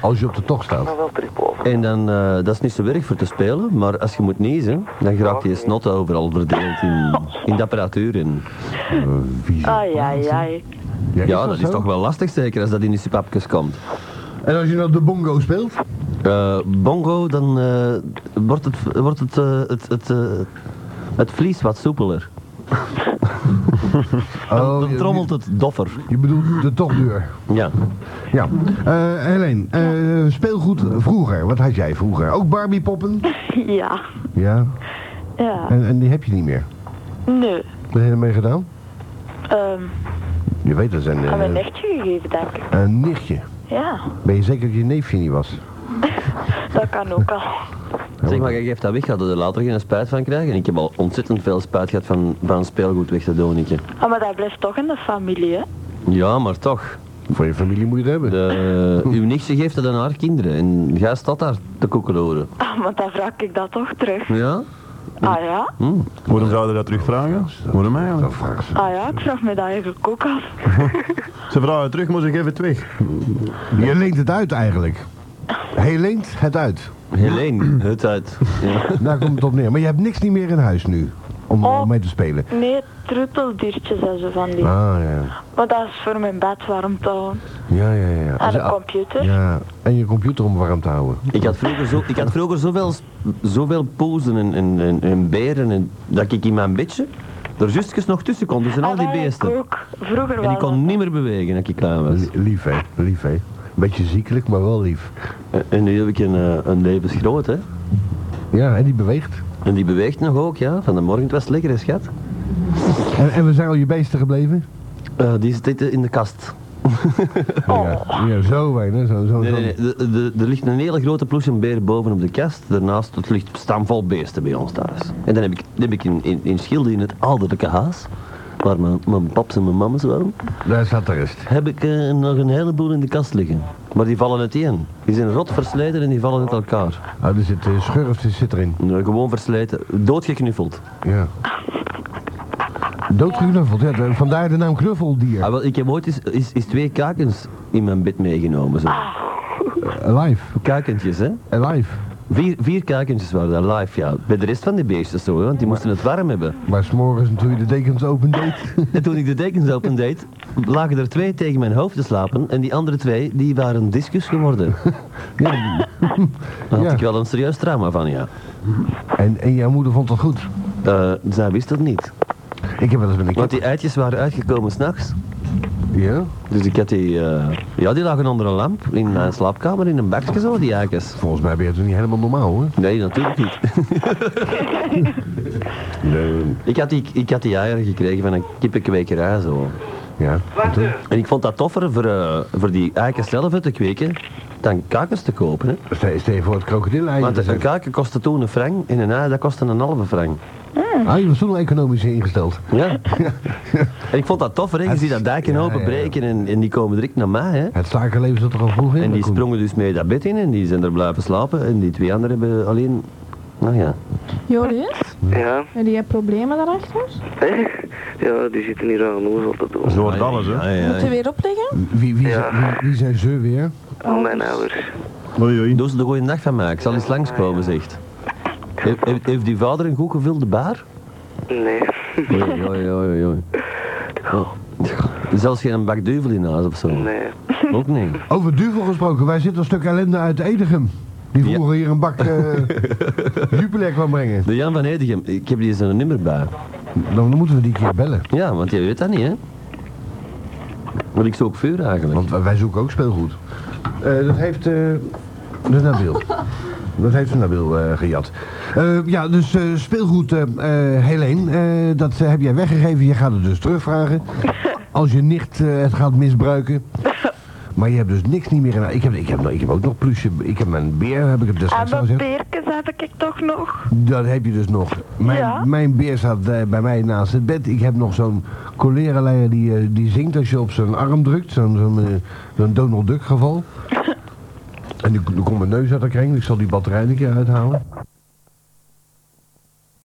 Als je op de tocht staat.
Maar wel terug boven.
En dan, eh, dat is niet zo erg voor te spelen, maar als je moet niezen, dan geraakt je snot overal verdeeld in, in de apparatuur. En,
Ai, ai, ai.
ja, dat is toch wel lastig zeker als dat in die sipapjes komt.
En als je nou de bongo speelt?
Eh, bongo, dan eh, wordt, het, wordt het, eh, het, het, eh, het vlies wat soepeler.
Oh,
Dan
je-
trommelt het doffer.
Je bedoelt de tochtdeur.
Ja.
Ja. Eh Helene, eh, speelgoed vroeger. Wat had jij vroeger? Ook Barbie poppen?
Ja.
Ja.
Ja.
En, en die heb je niet meer.
Nee.
Wat heb je ermee gedaan?
Ehm,
Je weet, dat is een,
aan mijn
eh,
nichtje gegeven, denk ik.
een nichtje.
Ja.
Ben je zeker dat je neefje niet was?
Dat kan ook al.
Zeg maar, je geeft dat weg, gaat er later geen spijt van krijgen. En ik heb al ontzettend veel spijt gehad van, van speelgoed weg te doen. ik, hè.
Ah, maar dat blijft toch in de familie, hè?
Ja, maar toch.
Voor je familie moet je het hebben.
De, uw nichtje geeft het aan haar kinderen en jij staat daar te koekeloeren.
Ah, maar dan vraag ik dat toch terug.
Ja?
Ah ja?
Waarom zouden we dat terugvragen? Waarom eigenlijk?
Ah ja, ik vraag me dat eigenlijk ook af.
Ze vragen het terug, maar ze geven het weg.
Je leent het uit eigenlijk. Hij leent het uit.
Helene, het uit. Ja.
Daar komt het op neer. Maar je hebt niks niet meer in huis nu. Om, om mee te spelen.
Oh, Nee, troeteldiertjes en zo van die.
Ah, ja.
Maar dat is voor mijn bed warm te houden.
Ja, ja, ja.
En
Als je-
een computer.
Ja, en je computer om warm te houden.
Ik had vroeger, zo, ik had vroeger zoveel, s- zoveel pozen en, en, en, en beren en, dat ik in mijn bedje er justjes nog tussen kon, tussen al die
Ah, wel, ik
beesten.
ook. Vroeger
En
was
ik kon niet meer bewegen als ik klaar was.
Li- Lief, hè? Lief, hè? Beetje ziekelijk, maar wel lief.
En, en nu heb ik een, eh, een levensgroot, hè.
Ja, en die beweegt.
En die beweegt nog ook, ja. Van de morgen, het was lekker, hè, schat.
En, en we zijn al je beesten gebleven?
Eh, die zit in de kast.
Oh.
Ja, ja, zo weinig. Zo, zo,
Nee,
zo.
nee, nee. De- de- Er ligt een hele grote ploesembeer boven op de kast. Daarnaast het ligt staan vol beesten bij ons thuis. En dan heb ik, dan heb ik in, in, in Schilde, in het ouderlijke huis, waar mijn, mijn paps en mijn mama's waren,
Daar zat er eens.
heb ik eh, nog een heleboel in de kast liggen. Maar die vallen uiteen. Die zijn rot versleten en die vallen uit elkaar. eh,
Ah, er zit schurf zit erin.
gewoon versleten. Doodgeknuffeld.
Ja. Doodgeknuffeld, ja. de- Vandaar de naam knuffeldier.
Ah, wel, ik heb ooit eens, eens- eens twee kakens in mijn bed meegenomen. Zo. Ah.
Live.
Kakentjes, hè?
Live.
Vier, vier kakentjes waren dat, live, ja. Bij de rest van die beestjes zo, hè, want die moesten het warm hebben.
Maar s'morgens toen je de dekens opendeed.
En toen ik de dekens opendeed, lagen er twee tegen mijn hoofd te slapen en die andere twee, die waren discus geworden. Ja. Daar had ik wel een serieus trauma van, ja.
En, en jouw moeder vond dat goed.
Eh, zij wist dat niet.
Ik heb wel eens met een
Want die eitjes waren uitgekomen s'nachts.
Ja?
Dus ik had die... eh, ja, die lagen onder een lamp in mijn slaapkamer in een bakje zo, die eikens.
Volgens mij ben je toen niet helemaal normaal, hoor.
Nee, natuurlijk niet. Ik had die, ik had die eieren gekregen van een kippenkwekerij zo.
Ja.
En ik vond dat toffer voor, eh, voor die eiken zelf te kweken dan kakers te kopen. Hè.
Stel, stel je voor het krokodilleier.
Want een kaken kostte toen een frank en een ei dat kostte een halve frank.
Ah, je was toen al economisch ingesteld.
Ja. en ik vond dat toffer, hè. je
Het-
ziet dat dijken
ja,
openbreken en, en die komen direct naar mij. Hè.
Het zakenleven zat er al vroeg in.
En die
Koen.
sprongen dus mee dat bed in en die zijn er blijven slapen en die twee anderen hebben alleen... Nou ja.
Joris?
Ja,
En die hebt problemen daarachter?
ja, die zitten hier aan ons altijd door.
Zo
Ah,
wordt alles, hè?
Moeten we weer opleggen?
Wie, wie, zijn, wie, wie zijn ze weer?
Mijn ouders.
Oei, oei. Doe ze de goede nacht van mij, ik zal eens langskomen, zegt. He- he- heeft die vader een goed gevulde baar?
Nee.
Oei, oei, oei, oei. Oh. Zelfs geen bak duvel in huis of zo?
Nee.
Ook niet.
Over Duvel gesproken, wij zitten een stuk ellende uit Edegem. Die vroeger hier een bak eh Jupiler kwam brengen.
De Jan van Edegem, ik heb hier zijn nummer bij.
Dan moeten we die keer bellen.
Ja, want jij weet dat niet, hè? Want ik zoek vuur eigenlijk.
Want wij zoeken ook speelgoed. Eh, dat heeft eh, de Nabil. Dat heeft de Nabil eh, gejat. Eh, ja, dus eh, speelgoed, eh eh, Helene, eh, dat eh, heb jij weggegeven. Je gaat het dus terugvragen. Als je nicht eh, het gaat misbruiken. Maar je hebt dus niks niet meer. in- Ik heb, ik heb, ik heb ook nog plusje. Ik heb mijn beer, heb ik het
En
Ah,
destijds al
mijn
gezegd.
Ah, beertjes heb ik toch nog.
Dat heb je dus nog. Mijn,
Ja.
mijn beer staat eh, bij mij naast het bed. Ik heb nog zo'n coleraleier die, eh, die zingt als je op zijn arm drukt. Zo'n zo'n eh, zo'n dus Donald Duck geval. en nu, nu komt mijn neus uit de kring. Ik zal die batterij een keer uithalen.